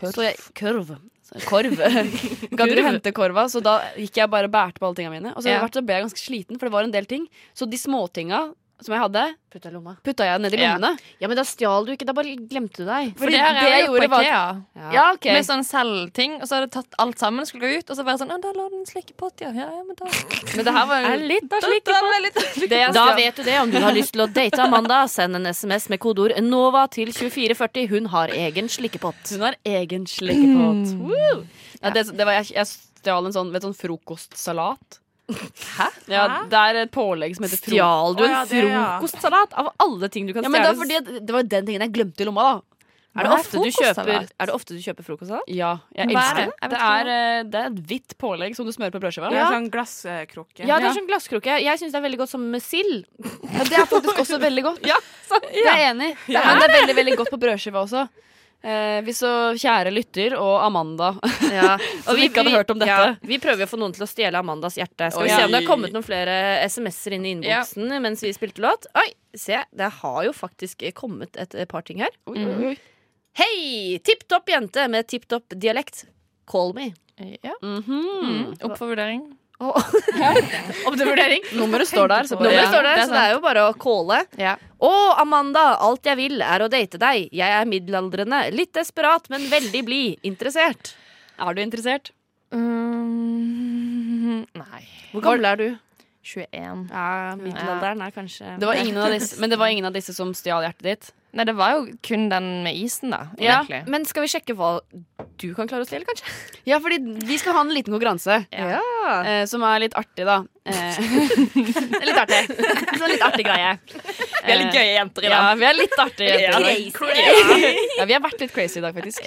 E: Så jeg, kurv. Så- Korv. Gadd ikke å hente korva, så da gikk jeg bare og bærte på alle tingene mine. Og så,
C: Ja.
E: etter hvert så ble jeg ganske sliten, for det var en del ting. Så de småtinga som jeg hadde,
C: Putta i lomma.
E: putta jeg ned i lommene.
C: Ja, men da stjal du ikke, da bare glemte du deg.
E: For det har jeg jo gjort på
C: Ja.
G: Ja. Med sånn selvting, og så hadde jeg tatt alt sammen skulle gå ut, og så bare sånn «Å, da lå det en slikkepott, ja. ja, ja, men da
E: Men det her var
C: Er litt av slik
E: Det jeg
C: Da
E: skal-
C: vet du det. Om du har lyst til å date Amanda, send en SMS med kodeord NOVA til 2440. Hun har egen slikkepott.
E: Hun har egen slikkepott. Woo! Nei, Mm. det, det var, jeg, jeg stjal en sånn, vet, du, sånn frokostsalat. Hæ? Ja, det er et pålegg som heter fro-
C: Stjal du en
E: Å, ja, det, ja.
C: frokostsalat av alle ting du kan
E: Ja, men det,
C: stjele?
E: er fordi, det var den tingen jeg glemte i lomma, da.
C: er, det
E: Hva
C: ofte du kjøper,
E: frokostsalat?
C: er det ofte du kjøper frokostsalat?
E: Ja, jeg
C: Hva er
E: elsker
C: det?
E: det.
C: Jeg vet
E: Det
C: ikke
E: er, eh, det er et hvitt pålegg som du smører på brødskiva.
F: Det er sånn glasskrukke.
C: Ja, det er sånn glasskrukke. Jeg syns det er veldig godt som sild.
E: Ja, det er faktisk også veldig godt. Det er jeg enig. i.
C: Ja.
E: Men det er veldig veldig godt på brødskiva også. Eh, vi så kjære lytter og Amanda
C: Ja.
E: som ikke hadde hørt om dette.
C: ja, vi prøver jo å få noen til å stjele Amandas hjerte. Skal vi
E: Oi.
C: se om det har kommet noen flere SMS-er inn i innboksen mens vi spilte låt. Oi, se, det har jo faktisk kommet et eh, par ting her. Mm.
E: oi, oi.
C: Hei! Tipp topp jente med tipp topp dialekt. Call me.
G: Ja. Mm.
C: Mhm.
G: Opp for vurdering.
C: Opp til vurdering.
E: Nummeret står der, så bare-
C: Nummeret
E: Ja,
C: står der,
E: det er
C: så det er jo bare å calle. Å, Amanda, alt jeg vil er å date deg. Jeg er middelaldrende, litt desperat, men veldig blid. Interessert.
E: Er du interessert?
G: Mm, nei.
C: Hvor gammel er du?
G: 21.
C: Ja, middelalderen er kanskje
E: Det var ingen av disse, men det var ingen av disse som stjal hjertet ditt?
G: Nei, det var jo kun den med isen, da.
E: Ja,
G: Egentlig.
C: Men skal vi sjekke hva du kan klare å stjele, kanskje?
E: Ja, fordi vi skal ha en liten konkurranse. Eh, som er litt artig, da. Eh, litt artig. Sånn litt artig greie.
G: Vi er litt gøye jenter i dag.
E: Ja, vi er litt artige jenter i dag.
G: Crazy.
E: Ja, vi har vært litt crazy i dag, faktisk.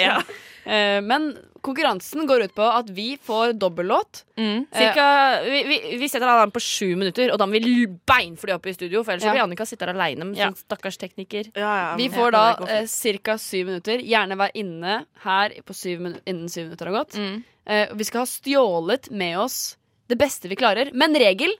E: Eh, men konkurransen går ut på at vi får dobbellåt.
C: Cirka, vi, vi, vi setter alarm på sju minutter, og da må vi l- beinfly opp i studio. For ellers så
E: Ja.
C: blir Annika sitte her aleine med
E: Ja.
C: sånn stakkars tekniker.
E: Vi får da eh, ca. syv minutter. Gjerne være inne her på syv minu innen syv minutter har gått.
C: Mm.
E: Eh, vi skal ha stjålet med oss det beste vi klarer. Men regel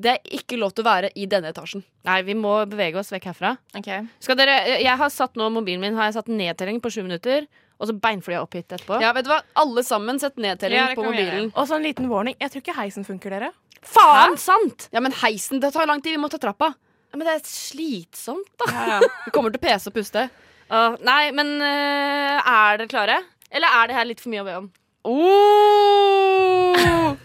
E: det er ikke lov til å være i denne etasjen.
C: Nei, vi må bevege oss vekk herfra. Skal dere, eh, jeg har satt nå mobilen min Har jeg satt nedtelling på sju minutter, og så beinflyr jeg opp hit etterpå.
E: Ja, vet du hva? Alle sammen sett nedtelling
C: Ja, det
E: på
C: kan vi gjøre.
E: mobilen.
F: Og så en liten warning. Jeg tror ikke heisen funker, dere.
C: Faen sant!
E: Ja, men heisen, det tar lang tid. Vi må ta trappa.
C: Men det er slitsomt, da.
E: Vi kommer til å pese og puste.
C: Åh, nei, men øh, er dere klare? Eller er det her litt for mye å be om?
E: Oh!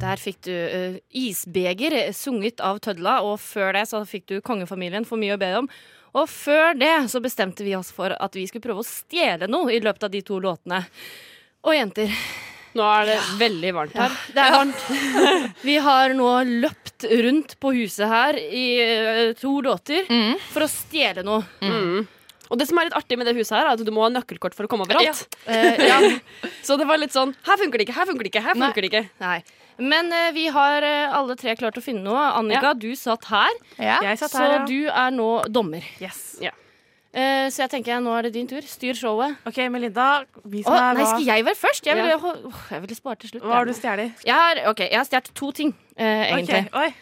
C: Der fikk du øh, Isbeger, sunget av Tødla, og før det så fikk du Kongefamilien, For mye å be om. Og før det så bestemte vi oss for at vi skulle prøve å stjele noe i løpet av de to låtene. Og jenter,
E: Nå er det veldig varmt her.
C: Det er varmt. Vi har nå løpt rundt på huset her i eh, to låter
E: Mm.
C: for å stjele noe.
E: Og det som er litt artig med det huset her, er at du må ha nøkkelkort for å komme overalt.
C: Ja. Eh, ja.
E: Så det var litt sånn Her funker det ikke, her funker det ikke, her funker det ikke.
C: Nei. Men eh, vi har eh, alle tre klart å finne noe. Annika,
E: Ja.
C: du satt her,
E: Ja. Jeg satt
C: så
E: her, ja.
C: du er nå dommer.
E: Ja.
C: Eh, så jeg tenker nå er det din tur. Styr showet.
F: OK, Melinda. Vi
C: Å,
F: som er
C: nei,
F: hva-
C: skal jeg være først? Jeg ville,
F: Ja.
C: ho- åh, jeg ville spare til slutt.
F: Hva har du stjålet?
C: Jeg har, ok, jeg har stjålet to ting, eh,
F: Ok,
C: egentlig.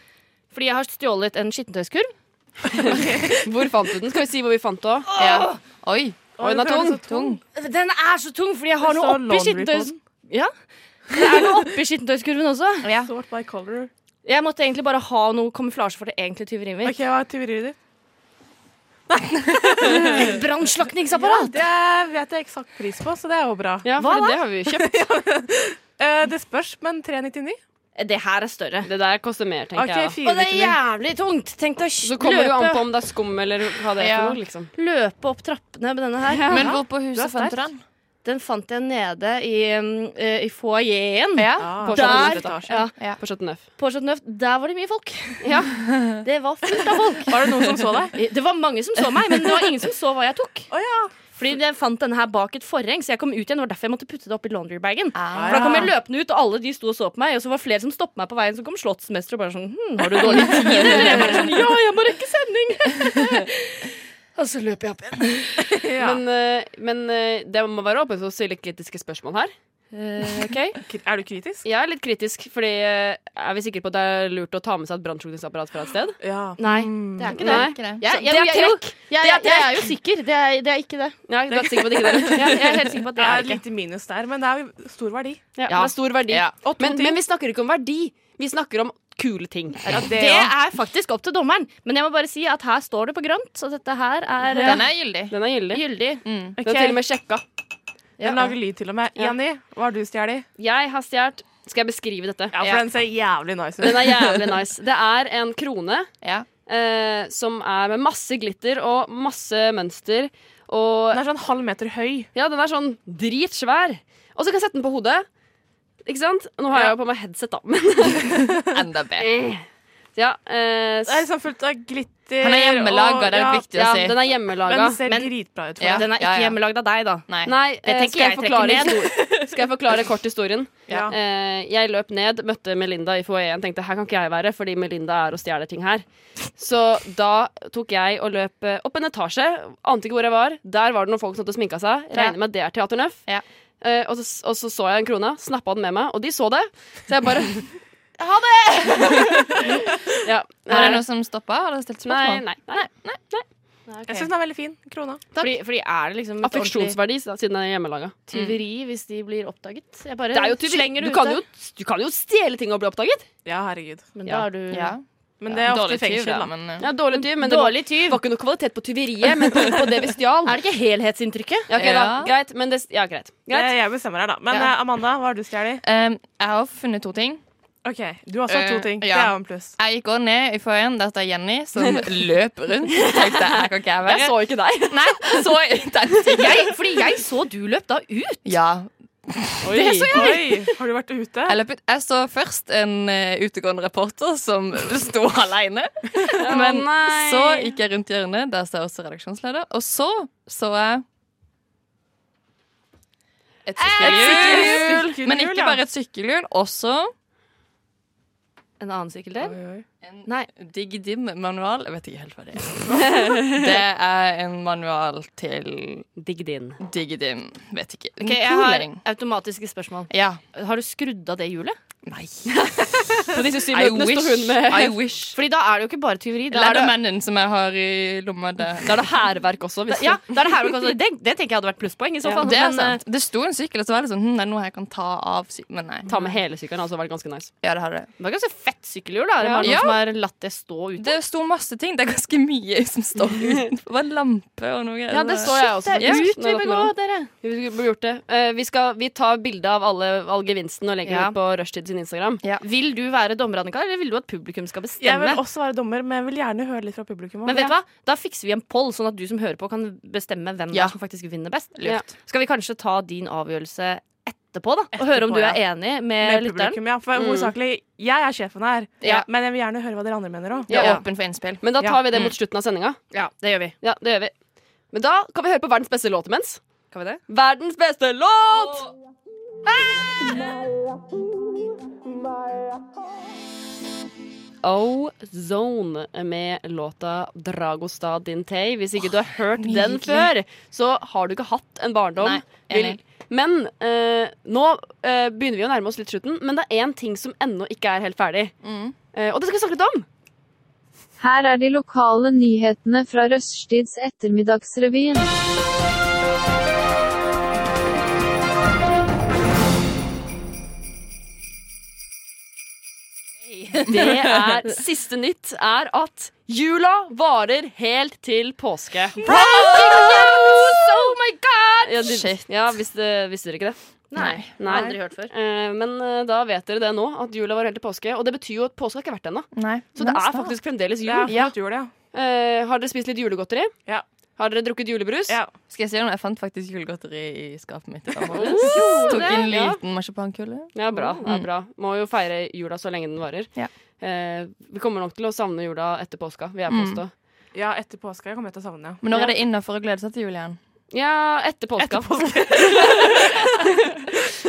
C: Fordi jeg har stjålet en skittentøyskurv.
E: Hvor fant du den? Skal vi si hvor vi fant den? også? Oi. Oi, den er tung. tung.
C: Den er så tung, fordi jeg har
E: Det
C: noe
E: står
C: oppi
E: laundry på
C: skittentøys...
E: den.
C: Ja. Det er noe oppi skittentøyskurven også.
F: Sort by color.
C: Jeg måtte egentlig bare ha noe kamuflasje for det egentlige tyveriet mitt.
F: OK, hva er tyveriet ditt?
C: Et brannslakningsapparat!
F: Ja, det vet jeg eksakt pris på, så det er jo bra.
C: Hva for da? det har vi jo
F: Eh, det spørs, men 399?
C: Det her er større.
E: Det der koster mer, tenker
F: Ok,
E: jeg.
F: fire
C: Og det er jævlig tungt! Tenk deg å
E: Så kommer det jo an
C: løpe-
E: på om det er skum eller hva det er
C: Ja.
E: for noe. liksom
C: Løpe opp trappene med denne her.
E: Ja. Men hvor på huset fant du
C: den? Den fant jeg nede i, um, eh, i foajeen.
F: Ah.
E: På
C: Der,
E: 17. etasje.
C: ja.
E: På 17. F.
C: På Chateau Neuf, der var det mye folk. Det var fullt av folk.
E: Var det noen som så deg?
C: Det var mange som så meg, men det var ingen som så hva jeg tok. Fordi jeg fant denne her bak et forheng, så jeg kom ut igjen. Det var derfor jeg måtte putte det oppi laundrybagen. For da kom jeg løpende ut, og alle de sto og så på meg. Og så var det flere som stoppet meg på veien, som kom slottsmester og bare sånn hm, Har du dårlig tid, eller? Jeg bare sånn Ja, jeg må rekke sending. og så løper jeg opp igjen.
E: Men, eh, men eh, det må være åpent for å stille kritiske spørsmål her. Eh, ok?
F: Er du kritisk?
E: Jeg er litt kritisk, fordi eh, er vi sikre på at det er lurt å ta med seg et brannslukningsapparat fra et sted?
F: Ja.
C: Nei,
E: Mm.
C: det er ikke det. Jeg, jeg, jeg, jeg, jeg, jeg, jeg er jo sikker. Det er, det er ikke det.
E: Nei, du er sikker på at det ikke er lurt?
C: Jeg, jeg er helt sikker på at det er
F: et
C: ikke
F: lite minus der, men det er jo stor verdi.
E: Ja, Det er stor verdi.
F: Ja. Og to
E: Men,
F: ting.
E: men vi snakker ikke om verdi. Vi snakker om kule ting.
C: Ja, det, er faktisk opp til dommeren, men jeg må bare si at her står det på grønt. Så dette her er eh,
E: Den er
C: gyldig.
E: Den er gyldig. Den
F: Ok.
E: er til og med sjekka.
F: Den lager lyd til og med.
E: Ja.
F: Jenny, hva har du stjålet?
E: Jeg har stjålet Skal jeg beskrive dette?
F: Ja, for den ser jævlig nice ut.
E: Den er jævlig nice. Det er en krone eh, som er med masse glitter og masse mønster. Og den
F: er sånn halv meter høy.
E: Ja, den er sånn dritsvær. Og så kan jeg sette den på hodet. Ikke sant? Nå har jeg jo på meg headset, da. Men Enda bedre. Ja, eh, s-
F: Det er liksom fullt av glitter.
E: Han er hjemmelaga,
F: og-
E: det er litt viktig å si.
F: Ja,
E: Den er hjemmelaga.
F: Men den ser
E: Men-
F: dritbra ut. for
E: Ja.
F: deg.
E: Den er ikke Ja, ja. hjemmelaga.
C: Lagd av deg, da.
E: Nei.
C: Det
E: eh,
C: tenker
E: skal, jeg
C: jeg trekker
E: forklare
C: ned.
E: histor- skal jeg forklare kort historien?
C: Ja.
E: Eh, jeg løp ned, møtte Melinda i foajeen, tenkte her kan ikke jeg være, fordi Melinda er og stjeler ting her. Så da tok jeg og løp eh, opp en etasje, ante ikke hvor jeg var. Der var det noen folk som satt og sminka seg. Regner med at det er Teater Nøff. Eh, og, så, og så så jeg en krone, snappa den med meg, og de så det. Så jeg bare Ha det! ja. Eh,
G: Er det noe som stoppa? Har dere stilt
E: Nei,
G: spørsmål?
E: nei, nei.
F: Jeg syns den er veldig fin. Krona.
C: Fordi, fordi er det liksom et ordentlig
E: Affeksjonsverdi, da, siden den er hjemmelaga.
C: tyveri hvis de blir oppdaget? Jeg bare
E: Mm. Det er jo tyveri.
C: slenger
E: Du
C: det
E: kan
C: ut
E: jo- Du kan jo stjele ting og bli oppdaget.
F: Ja, herregud.
C: Men da er du
E: Ja.
F: Men det er ofte
E: Dårlig tyv,
F: fengsel,
E: da,
F: da.
E: men- Ja, dårlig tyv, men
C: Dårlig
E: det var, var ikke noe kvalitet på tyveriet, men på, på det vi stjal.
C: Er det ikke helhetsinntrykket?
E: Ja, ok, da.
G: Ja.
E: Greit, men det Ja, greit. greit.
F: Det- Jeg bestemmer her, da. Men
G: Ja.
F: eh, Amanda, hva har du stjålet?
G: Um, jeg har funnet to ting.
F: OK, du har sagt to
G: Eh,
F: ting. Det
G: ja.
F: er jo en pluss.
G: Jeg gikk også ned i forhånd. Dette er Jenny som løper rundt. Tenkte, her kan ikke jeg være.
E: Jeg så ikke deg.
G: Nei, så intenst.
C: Jeg, fordi jeg så du løp da ut.
G: Ja. Det så jeg.
F: Oi, Har du vært ute?
G: Jeg, løp ut. jeg så først en eh, utegående reporter som sto alene. Men
E: nei.
G: så gikk jeg rundt hjørnet, der står også redaksjonsleder. Og så så jeg et
C: sykkelhjul.
G: sykkelhjul. Men ikke bare et sykkelhjul, også
C: En annen sykkeldel?
G: Nei. Digg Dim-manual. Jeg vet ikke helt hva det er. det er en manual til
E: Digg Din.
G: Digg Dim. Vet ikke.
C: Ok, jeg har automatiske spørsmål.
G: Ja.
C: Har du skrudd av det hjulet?
G: Nei.
C: På disse syv
G: I
C: minuttene står hun
G: wish.
C: med
G: I wish.
C: Fordi da er det jo ikke bare tyveri. Da er det,
G: Lædermannen som jeg har i lomma. Det.
E: Da er det hærverk også.
C: da, ja, da er det her også. Det, det tenker jeg hadde vært plusspoeng i så fall.
G: det er
C: men, eh,
E: eh,
G: sant. Det sto en sykkel, og så var det sånn hm, Det er noe jeg kan ta av sy Men nei.
E: Ta med hele sykkelen. Altså, vært ganske nice.
G: Ja, det har det.
C: eh, Det var ganske fett sykkelhjul. da Er det
G: Ja.
C: bare noen
G: Ja.
C: som har latt det stå ute?
G: Det sto masse ting. Det er ganske mye som står utenfor. Det var en lampe og noe greier.
E: Ja, det så jeg også.
C: Det er
E: faktisk,
C: ut vi
E: når jeg
C: bør gå,
E: lagt meg
C: dere.
E: Vi burde gjort det. Eh, vi, skal, vi tar bilde av alle, all gevinsten og legger
C: Ja.
E: det ut på Rushtid sin Instagram.
C: Vil du være dommer, Annika, eller vil du at publikum skal bestemme?
F: Jeg vil også være dommer, men jeg vil gjerne høre litt fra publikum. om
C: Men vet
F: det.
C: du hva? Da fikser vi en poll, sånn at du som hører på, kan bestemme hvem det er som faktisk vinner best.
E: Lurt.
C: Skal vi kanskje ta din avgjørelse etterpå, da, og høre om
F: Etterpå,
C: du er
F: ja.
C: enig med,
F: Med
C: lytteren.
F: publikum, ja. For
C: Mm.
F: hovedsakelig, jeg er sjefen her,
C: Ja.
F: men jeg vil gjerne høre hva dere andre mener òg.
E: Jeg er åpen
G: for innspill.
E: Men da tar
F: Ja.
E: vi det
F: Mm.
E: mot slutten av sendinga.
C: Ja, det gjør vi.
E: Men da kan vi høre på verdens beste låt imens.
C: Kan vi det?
E: Verdens beste låt! Ozone med låta 'Dragostad din tei'. Hvis ikke du har hørt den
P: nydelig.
E: før, så har du ikke hatt en barndom.
P: Nei, enig.
E: Vil- Men eh, nå eh, begynner vi å nærme oss litt slutten, men det er én ting som ennå ikke er helt ferdig.
C: Mm.
E: Eh, og det skal vi snakke litt om.
H: Her er de lokale nyhetene fra Røststids ettermiddagsrevyen.
E: Det er Siste nytt er at jula varer helt til påske.
C: Oh my god!
E: Ja, de, ja visste, visste dere ikke det?
C: Nei, aldri hørt før.
E: Eh, men eh, da vet dere det nå, at jula var helt til påske. Og det betyr jo at påske har ikke vært ennå.
G: Nei.
E: Så det er faktisk fremdeles jul.
G: Det er fortsatt
F: jul, ja.
E: Eh, har dere spist litt julegodteri?
F: Ja.
E: Har dere drukket julebrus?
G: Skal jeg si noe? Jeg fant faktisk julegodteri i skapet mitt. i dag morges.
E: Oh,
G: Tok en
E: det, ja.
G: liten marsipankule.
E: Ja, bra. det
G: Mm.
E: er bra. Må jo feire jula så lenge den varer. Eh, vi kommer nok til å savne jula etter påska, vil jeg
G: Mm.
E: påstå.
F: Ja, etter påske kommer jeg til å savne.
G: Men når er det innafor å glede seg til jul igjen?
E: Ja, etter påska.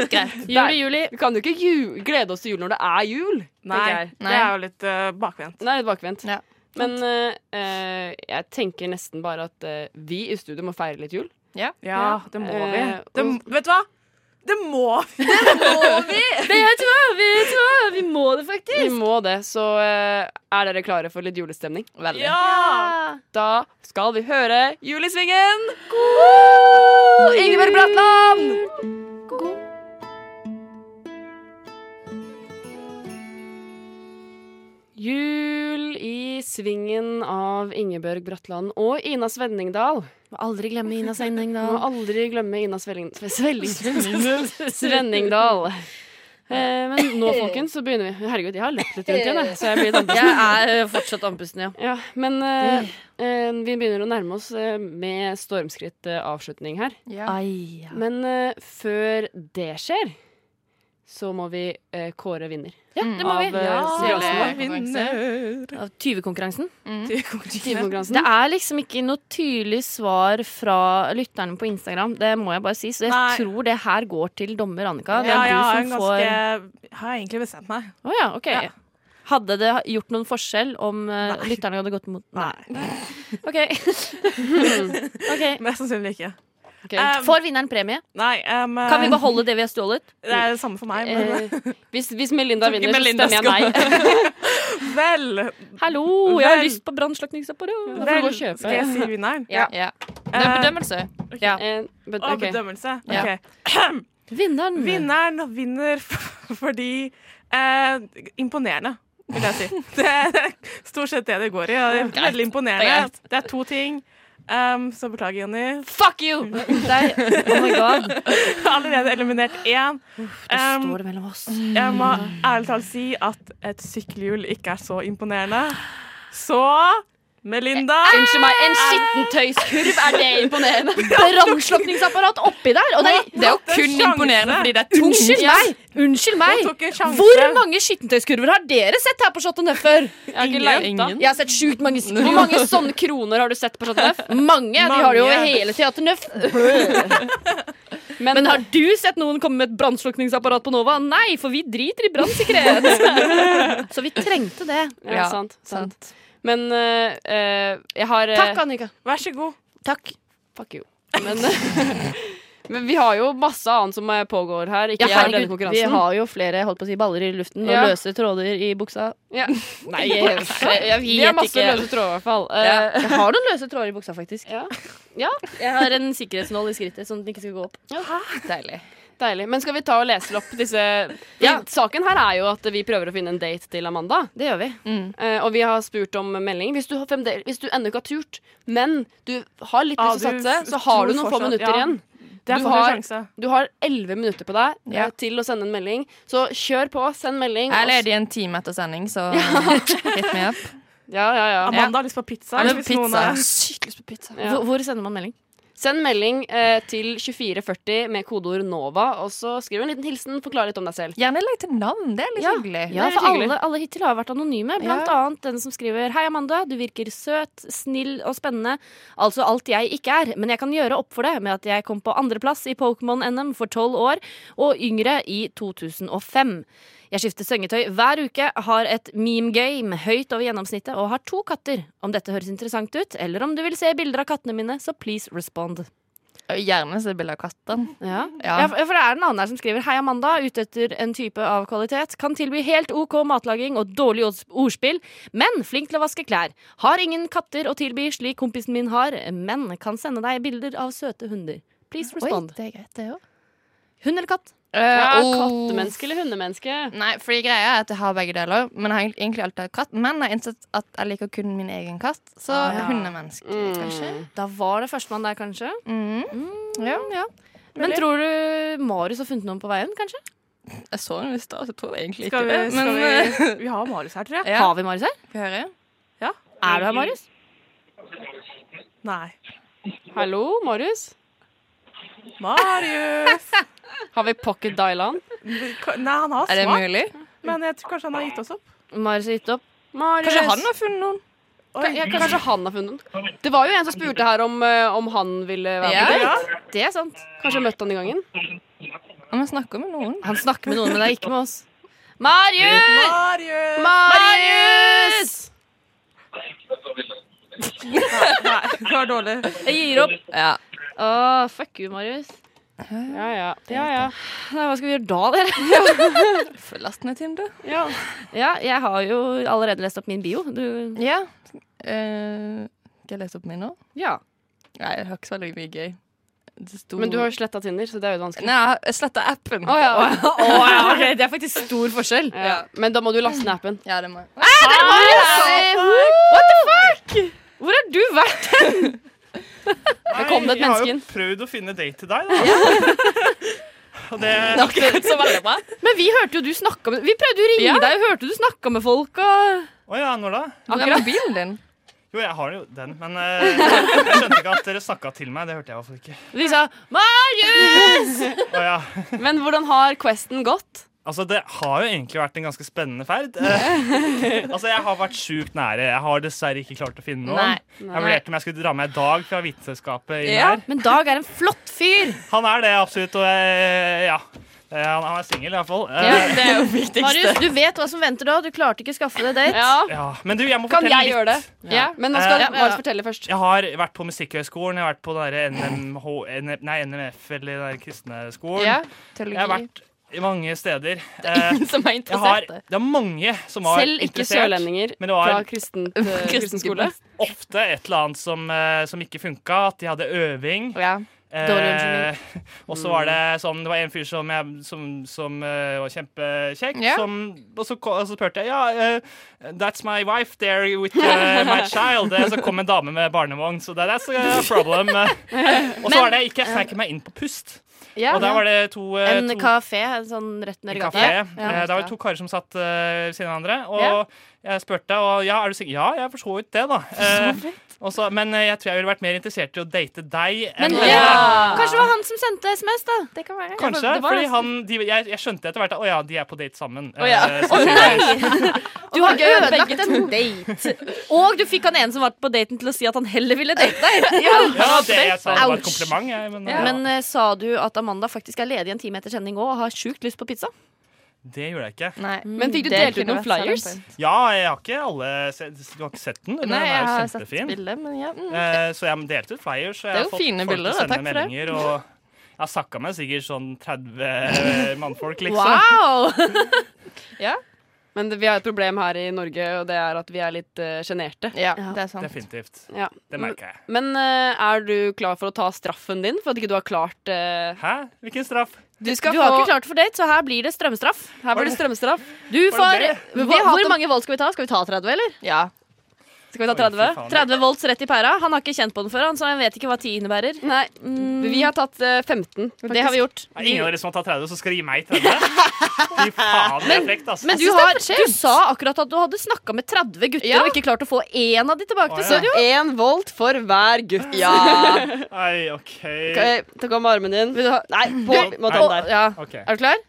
E: Greit. Juli, juli. Vi kan jo ikke ju glede oss til jul når det er jul.
F: Nei,
E: tenker jeg.
F: det er jo litt eh, bakvendt.
E: Nei, litt bakvendt. Men eh, eh, jeg tenker nesten bare at eh, vi i studio må feire litt jul.
G: Ja,
F: Ja, det må vi.
E: Eh,
F: Det, vet du hva? Det må vi!
C: Det jeg tror, vi tror Vi må det faktisk.
E: Vi må det, så eh, er dere klare for litt julestemning? Veldig.
C: Ja!
E: Da skal vi høre Julesvingen! God Ingeborg Bratland! Jul i svingen av Ingebjørg Bratland og Ina Svenningdal. Må aldri glemme Ina Svenningdal. Må aldri glemme Ina Svelling... Svelling... Svenningdal. Eh, men nå, folkens, så begynner vi. Herregud, jeg har løpt litt rundt igjen, jeg, så jeg blir litt andpusten.
C: Jeg er fortsatt andpusten, ja.
E: Ja, men eh, eh, vi begynner å nærme oss eh, med stormskritt eh, avslutning her.
C: Ai, ja.
E: Men eh, før det skjer, så må vi eh, kåre vinner.
C: Ja, det må
E: Av,
C: vi.
E: eh, hele-
C: Av tyvekonkurransen.
E: Tyvekonkurransen.
C: Det er liksom ikke noe tydelig svar fra lytterne på Instagram. Det må jeg bare si. Så jeg
F: Nei.
C: tror det her går til dommer Annika.
F: Ja,
C: Det er du
F: jeg har, en
C: som
F: ganske,
C: får
F: har jeg egentlig bestemt meg.
C: Å ja, ok. Hadde det gjort noen forskjell om eh, lytterne hadde gått mot Nei. OK.
F: Mest sannsynlig ikke.
C: Ok. Får vinneren premie?
F: Nei, um,
C: Kan vi beholde det vi har stjålet?
F: Det er det samme for meg. Men...
E: Eh, hvis, Melinda
F: Tror ikke
E: vinner, så
F: Melinda
E: stemmer jeg
F: skal-
C: Eh,
F: Vel
C: Hallo, jeg har
F: Vel.
C: lyst på brannslukningsapparat. Da får du gå
F: Vel,
C: og kjøpe.
F: skal jeg si vinneren?
C: Ja.
G: Det
C: Eh,
G: er bedømmelse.
C: Ja.
E: Eh,
F: Å, bedømmelse.
G: Ja.
F: Ok.
C: Vinneren.
F: vinner f- fordi eh, Imponerende, vil jeg si. Det er stort sett det det går i. og Det er veldig imponerende.
C: Det
F: Det er to ting. Um, så beklager, Jonny.
E: Fuck you!
C: oh my god.
F: Allerede eliminert én.
C: da
F: Um,
C: står det mellom oss.
F: Jeg må ærlig talt si at et sykkelhjul ikke er så imponerende. Så Melinda
C: Eh,
E: Unnskyld meg,
C: Ah.
E: en skittentøyskurv, er det imponerende?
C: Brannslukningsapparat oppi der! Og det, er-
G: Det er jo kun imponerende fordi det er tungt.
C: Unnskyld meg! Unnskyld
F: Hun
C: meg!
F: tok en sjanse.
C: Hvor mange skittentøyskurver har dere sett her på Shot Neff før? Jeg
E: har ikke leita. Ingen.
C: Jeg har sett sjukt mange
E: Hvor mange sånne kroner har du sett på Chateau Neuf?
C: Mange! De har det jo over hele Teater Neuf. Men, har du sett noen komme med et brannslukningsapparat på Nova? Nei, for vi driter i brannsikkerhet. Så vi trengte det.
E: Ja, sant, sant. Men eh, eh, jeg har eh,
C: Takk, Annika.
F: Vær så god.
C: Takk.
E: Fuck you. Men, men vi har jo masse annet som eh, pågår her. Ikke
C: Ja,
E: jeg i denne
C: herregud, vi
E: konkurransen.
C: har jo flere holdt på å si, baller i luften
E: Ja.
C: og løse tråder i buksa.
E: Ja.
C: Nei, jeg, jeg, jeg vet
E: Vi har masse
C: ikke.
E: løse tråder, i hvert fall.
C: Ja.
E: Eh,
C: Jeg har noen løse tråder i buksa, faktisk.
E: Ja.
C: Jeg har en sikkerhetsnål i skrittet, sånn at den ikke skal gå opp.
G: Deilig.
E: Deilig. Men skal vi ta og lese opp disse
C: Ja.
E: Saken her er jo at vi prøver å finne en date til Amanda.
C: Det gjør vi.
E: Eh, og vi har spurt om melding. Hvis du, har fremdel- hvis du ennå ikke har turt, men du har litt
F: Ja,
E: lyst til å
F: du
E: satse, så
F: f-
E: har du
F: tror
E: noen få
F: fortsatt-
E: minutter
F: ja.
E: igjen.
F: Det er
E: Du
F: fortsatt
E: har-
F: sjanse.
E: Du har elleve minutter på deg eh,
G: Ja.
E: til å sende en melding, så kjør på. Send melding.
G: Jeg er
E: og s-
G: ledig en time etter sending, så hit me up.
E: Ja, ja, ja.
F: Amanda har lyst på pizza.
G: Ja,
F: hvis
G: pizza.
F: noen er-
G: Sykt lyst på pizza.
E: Ja.
C: Hvor, hvor sender man melding? Send melding eh, til 2440 med kodeord NOVA, og så skriv en liten hilsen. Forklar litt om deg selv.
G: Gjerne legg til navn. Det er litt
C: ja.
G: hyggelig.
C: Ja,
G: Det er
C: for
G: hyggelig.
C: alle, alle hittil har vært anonyme. Blant annet den som skriver Hei, Amanda. Du virker søt, snill og spennende. Altså alt jeg ikke er. Men jeg kan gjøre opp for det med at jeg kom på andreplass i Pokémon-NM for tolv år, og yngre i 2005. Jeg skifter sengetøy hver uke, har et meme-game høyt over gjennomsnittet og har to katter. Om dette høres interessant ut, eller om du vil se bilder av kattene mine, så please respond.
G: Gjerne se bilde av katten.
C: Ja.
G: Ja.
C: Ja, for for det er en annen her som skriver Hei Amanda, ute etter en type av kvalitet Kan tilby helt ok matlaging og dårlig ords- ordspill Men flink til å vaske klær Har ingen katter å tilby slik kompisen min har Men kan sende deg bilder av søte hunder Please respond
G: Oi, det er greit det også
C: Hund eller katt?
G: Eh,
C: Ja,
G: og-
C: kattemenneske eller hundemenneske?
G: Nei, fordi greia er at jeg har begge deler, men jeg har egent- egentlig alltid hatt katt. Men jeg har innsett at jeg liker kun min egen katt, så
C: Ah, ja. Mm.
G: hundemenneske, kanskje.
C: Da var det førstemann der kanskje
G: Mm. Ja, ja.
C: Men tror du Marius har funnet noen på veien kanskje?
G: Jeg så henne i stad, så jeg tror egentlig
F: Skal vi,
G: ikke det.
F: skal
G: men,
F: vi, vi har Marius her, tror jeg.
C: Har vi Marius her?
G: Få høre.
F: Ja.
C: Er du her, Marius?
F: Nei.
C: Hallo, Marius?
F: Marius!
C: Har vi pocket dial-on?
F: Nei, han har
C: Er det
F: svart.
C: mulig?
F: Men jeg tror kanskje han har gitt oss opp.
C: Marius har gitt opp.
G: Kanskje han har funnet noen?
C: Ka- Ja, kanskje han har funnet den. Det var jo en som spurte her om, eh, om han ville være
G: Ja.
C: på
G: Ja.
C: date. Det er sant. Kanskje møtte han i gangen.
G: Ja, men snakker med noen.
C: Han snakker med noen, men det er ikke med oss. Marius!
F: Marius!
C: Marius!
F: Nei, det var dårlig.
C: Jeg gir opp. Å, fuck you, Marius. Ja ja. ja, ja. Nei, hva skal vi gjøre da, dere?
G: Last ned Tinder.
C: ja. ja, jeg har jo allerede lest opp min bio. Du
G: Ja. Eh, skal jeg lese opp min nå?
C: Ja.
G: Nei, jeg har ikke så veldig mye gøy. Det sto-
C: Men du har jo sletta Tinder, så det er jo vanskelig.
G: Nei, jeg sletta appen.
C: Å ja. Å, ja, ok, Det er faktisk stor forskjell. Men da må du laste ned appen.
G: Ja, det må jeg.
C: Ah, det er Marius! What the fuck? Hvor har du vært hen? Der kom det et
I: Jeg har
C: menneske
I: jo
C: inn.
I: prøvd å finne date til deg, da. Og det
C: Men vi hørte jo du snakka med Vi prøvde jo å ringe
I: Ja.
C: deg, og hørte du snakka med folk og
I: Å ja, når da?
C: Akkurat. mobilen din.
I: Jo, jeg har jo den, men eh, jeg skjønte ikke at dere snakka til meg. Det hørte jeg i hvert fall ikke.
C: Vi sa 'Marius!'
I: Å ja.
C: Men hvordan har questen gått?
I: Altså, Det har jo egentlig vært en ganske spennende ferd. Eh, altså, Jeg har vært sjukt nære. Jeg har dessverre ikke klart å finne noen.
C: Nei. Nei.
I: Jeg vurderte om jeg skulle dra med Dag fra Vitenskapet inn
C: Ja.
I: her.
C: Men Dag er en flott fyr.
I: Han er det, absolutt. Og eh, ja. Eh, Han han er singel, iallfall.
C: Marius, du vet hva som venter da. Du klarte ikke å skaffe deg date.
I: Ja. Men du, jeg må
C: Kan
I: fortelle
C: jeg
I: litt.
C: gjøre det? Ja, men nå skal
I: Eh,
C: Marius fortelle først.
I: Jeg har vært på Musikkhøgskolen, jeg har vært på den der NMH, N- nei, NMF, eller den der kristne skolen.
G: Ja, teologi.
I: Jeg har vært i mange steder. Det er
G: ingen som er interessert,
I: Har, det er mange som var
C: Selv ikke
I: interessert,
C: sørlendinger
I: men det var
C: fra kristen, eh, kristen skole.
I: Ofte et eller annet som, eh, som ikke funka, at de hadde øving. Eh,
C: Dårlig unnskyldning.
I: og så var det sånn Det var en fyr som, jeg, som, som eh, var kjempekjekk,
G: Ja.
I: som, og, så, ko- og så spurte jeg Ja, eh, that's my wife there with eh, my child. Eh, så kom en dame med barnevogn, så det, that's a problem. Eh, og så var det Ikke snakk meg inn på pust.
C: Ja.
I: og der var det to, eh,
C: En
I: to
C: kafé en sånn rett nedi
I: i
C: gata.
I: kafé. Eh, Da var det to karer som satt eh, ved siden av hverandre. Og
C: Ja.
I: jeg spurte og ja, er du sikker? Ja, jeg for så vidt det, da. Eh, og så- men eh, jeg tror jeg ville vært mer interessert i å date deg enn
C: Men
I: denne.
C: ja. kanskje det var han som sendte SMS, da. Det kan være.
I: Kanskje, fordi han, de, jeg, jeg skjønte etter hvert at å ja, de er på date sammen.
C: Å ja.
I: Eh,
C: Å nei! Du har
I: Gøy, begge
C: ødelagt en date. Og du fikk han ene som var på daten, til å si at han heller ville date deg.
I: ja, det jeg sa det var et
C: Ouch.
I: kompliment, jeg. Men,
C: Ja. Men eh, sa du at Amanda faktisk er ledig en time etter sending òg og har sjukt lyst på pizza?
I: det gjorde jeg ikke.
C: Mm. Men fikk du
G: det
C: delt ut
G: kunne
C: noen
G: vært selling
C: flyers?
I: Ja, jeg har ikke alle se- Du har ikke sett den? Den
G: Nei,
I: er
G: jeg
I: jo
G: har sett
I: kjempefin.
G: bildet, men ja. Mm.
I: Eh, så jeg delte ut flyers. Og
G: Det
I: jeg
G: er
I: har
G: jo
I: fått
G: fine
I: folk
G: bilder,
I: til å
G: da.
I: sende
G: Takk for det.
I: meldinger, Og jeg har sakka meg sikkert sånn 30 mannfolk, liksom.
C: Wow! ja. Men det, vi har et problem her i Norge, og det er at vi er litt eh, sjenerte.
I: Definitivt.
C: Ja.
I: Det merker jeg.
C: Men eh, er du klar for å ta straffen din for at ikke du har klart eh?
I: Hæ? Hvilken straff?
C: Du,
I: skal
C: har
I: få-
C: ikke klart for date, så her blir det strømstraff. Her
I: Var
C: blir det
I: det-
C: strømstraff. Du
I: Var det
C: får
I: det?
C: Hvor,
I: Vi har hatt
C: hvor
I: en-
C: mange valg skal vi ta? Skal vi ta 30, eller?
G: Ja.
E: Skal vi ta 30?
C: 30 volts rett i pæra. Han har ikke kjent på den før, han, så han vet ikke hva 10 innebærer.
E: Nei, Vi har tatt eh, 15.
C: Det har vi gjort.
L: Det er ingen av dere som har tatt 30, så skal dere gi meg 30? Fy faen, det er frekt, altså.
C: Men du, har, du sa akkurat at du hadde snakka med 30 gutter og ikke klart å få én av de tilbake til
E: Så
C: studio.
E: én volt for hver gutt.
L: Nei, OK.
E: Ok, Ta om armen din. Nei, på,
L: Du-
E: må ta den
L: Nei.
E: der.
L: Ok.
E: Er du klar?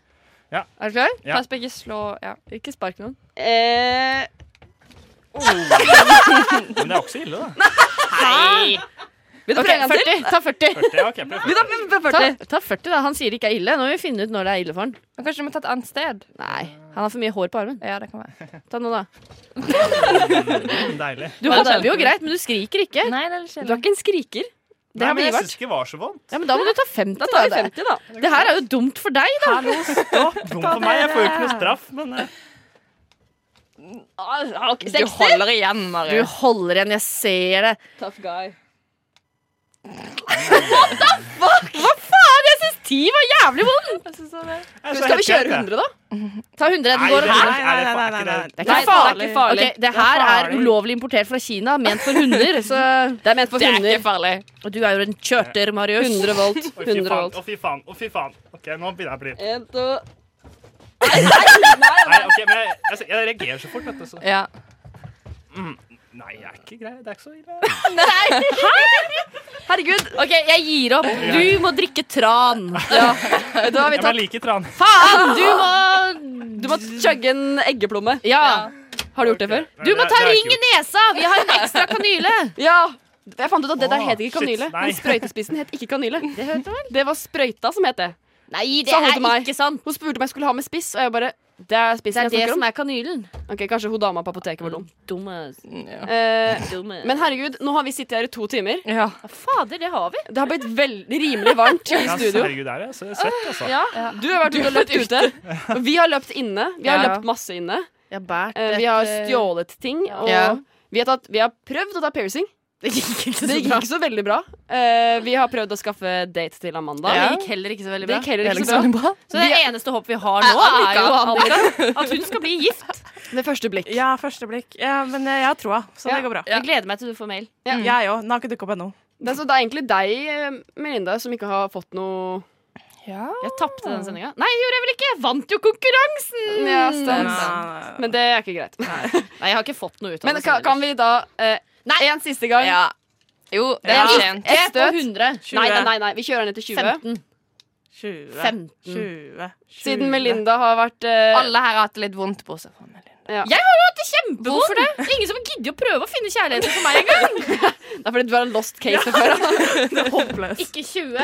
L: Ja.
E: Er du klar?
L: Ja.
E: Pass på ikke slå ja. Ikke spark noen. Eh,
L: Men det er også ille, da.
E: Nei! Vil du
C: Ok,
E: prøve en gang til?
C: 40. Ta 40.
L: 40, ja, ok, prøv 40.
C: Ta, ta 40 da. Han sier det ikke er ille. Nå må vi finne ut når det er ille for han.
E: Kanskje du må ta et annet sted?
C: Nei. Han har for mye hår på armen.
E: Ja, det kan være.
C: Ta nå, da.
L: Mm, Deilig.
C: Du hopper jo greit, men du skriker ikke.
E: Nei, det er litt
C: Du er ikke en skriker. Det
L: Nei, men
C: har vi
L: jeg
C: vært.
L: syns ikke det var så vondt.
C: Ja, men da må du ta 50,
E: Da tar vi
C: da.
E: 50, da.
C: Det her er jo dumt for deg, da.
L: Dumt for meg, jeg får jo ikke noe straff, men eh,
E: Du holder igjen,
C: Du holder igjen, jeg ser det.
E: Tough guy.
C: Hva faen? Jeg syns 10 var jævlig vond!
E: Jeg
C: Skal vi kjøre 100, da? Ta 100.
E: Nei,
C: Den går.
E: det-
C: Hæ?
E: nei, nei, nei, nei, nei, nei.
C: Det er
E: Nei,
C: ikke farlig.
E: farlig.
C: Ok, det
E: Det er
C: her er
E: farlig.
C: ulovlig importert fra Kina, ment for hunder. Så det er ment
E: for hunder.
C: Og du er jo en kjørter, Marius.
E: 100 volt.
L: Å, fy faen. Å, fy faen. Å, fy faen. OK, nå begynner jeg å bli
E: En, to
L: Nei, OK, men jeg, altså, jeg reagerer så fort, vet du. Så.
E: Ja.
L: Mm. Nei, jeg er ikke grei. Det er ikke så ille.
C: Nei! Herregud. OK, jeg gir opp. Du må drikke tran. Ja.
E: Da har vi
L: Ja, men
E: tatt
L: jeg liker tran.
E: Faen! Du må Du må chugge en eggeplomme.
C: Ja.
E: Har du gjort det før?
C: Du må ta ring i nesa! Vi har en ekstra kanyle.
E: Ja. Jeg fant ut at det der het ikke
C: shit,
E: kanyle.
C: nei.
E: Men sprøytespissen het ikke kanyle.
C: Det hørte vel?
E: Det var sprøyta som het det.
C: Nei, det
E: Sa hun
C: er
E: til meg.
C: ikke sant.
E: Hun spurte om jeg skulle ha med spiss, og jeg bare Det er
C: Det
E: spissen
C: er det
E: jeg snakker
C: som
E: om.
C: er kanylen.
E: Ok, Kanskje hun dama på apoteket var dum.
C: Dummes.
E: Eh,
C: Dumme.
E: men herregud, nå har vi sittet her i to timer.
C: Fader, det har vi.
E: Det har blitt veldig rimelig varmt i
L: Ja,
E: studio.
L: herregud, der er jeg så svett, altså.
E: Ja. Du har vært ute og løpt ute. Og Vi har løpt inne. Vi har
C: Ja.
E: løpt masse inne.
C: Jeg har båret
E: Eh, Vi har stjålet ting. Og
C: Ja.
E: vi, har tatt, vi har prøvd å ta piercing.
C: Det gikk ikke så
E: Det gikk
C: bra.
E: ikke så veldig bra. Eh, Vi har prøvd å skaffe date til Amanda.
C: Det gikk heller ikke så veldig bra.
E: Det liksom gikk heller ikke så bra.
C: Så det eneste håpet vi har nå,
E: Er
C: er jo
E: jo
C: Annika. At hun skal bli gift.
E: Ved første blikk.
F: Ja, første blikk. Ja, men eh, jeg har troa, så det går bra.
C: Jeg gleder meg til du får mail.
E: Ja.
F: Jeg òg. Den har ikke dukket opp ennå.
E: Det er, så det er egentlig deg, eh, Melinda, som ikke har fått noe Ja,
C: Jeg tapte
E: Mm.
C: den sendinga. Nei, det gjorde jeg vel ikke! Jeg vant jo konkurransen!
E: stemmer. Men det er ikke greit.
C: Nei, jeg har ikke fått noe ut av
E: Men
C: det.
E: kan, kan vi da eh, En siste gang. Jo,
C: det er sent.
E: Et
C: På
E: støt.
C: 100.
E: Nei, nei, nei, nei, vi kjører ned til 20.
C: 15.
F: 20.
C: 15.
F: 20.
E: Siden Melinda har vært eh,
G: Alle her har hatt det litt vondt, bortsett fra Melinda.
E: ja.
C: Jeg har jo hatt det kjempevondt! Det er ingen som gidder å prøve å finne kjærligheten for meg engang!
E: Det er fordi du er en lost case fra før. da.
F: Håpløst.
C: Ikke 20.
E: Nei,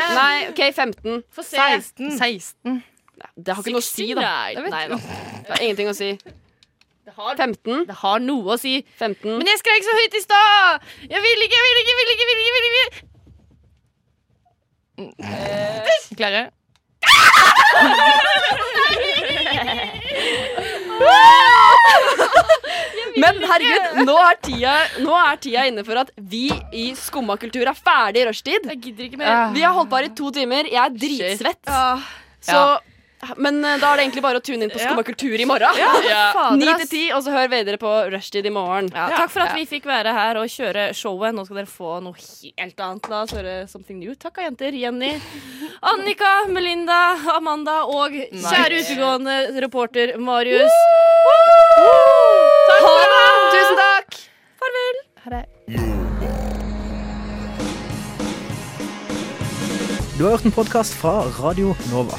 E: OK, 15.
C: Få se.
F: 16.
E: 16. Det har ikke noe å si, da.
C: Nei,
E: Det vet
C: nei
E: du. Det har ingenting å si.
C: Det har,
E: 15.
C: det har noe å si.
E: 15.
C: Men jeg skrek så høyt i stad! Jeg vil ikke, jeg vil ikke, jeg vil ikke, jeg vil ikke, jeg vil ikke.
G: Klarer?
E: Men herregud, nå er, tida, nå er tida inne for at vi i Skumma kultur er ferdig i rushtid.
C: Jeg gidder ikke mer.
E: Vi har holdt på her i to timer. Jeg er dritsvett. Så,
G: Ja.
E: Men eh, da er det egentlig bare å tune inn på Skumma kultur i morgen.
C: Fader,
E: Ni
C: ass.
E: til ti, og så hør videre på rushtid i morgen.
C: Ja, takk for at vi fikk være her og kjøre showet. Nå skal dere få noe helt annet. La oss høre something new. Takk av jenter. Jenny, Annika, Melinda, Amanda og kjære utegående reporter Marius. Takk for nå.
E: Tusen takk!
C: Farvel.
Q: Du har hørt en podkast fra Radio Nova.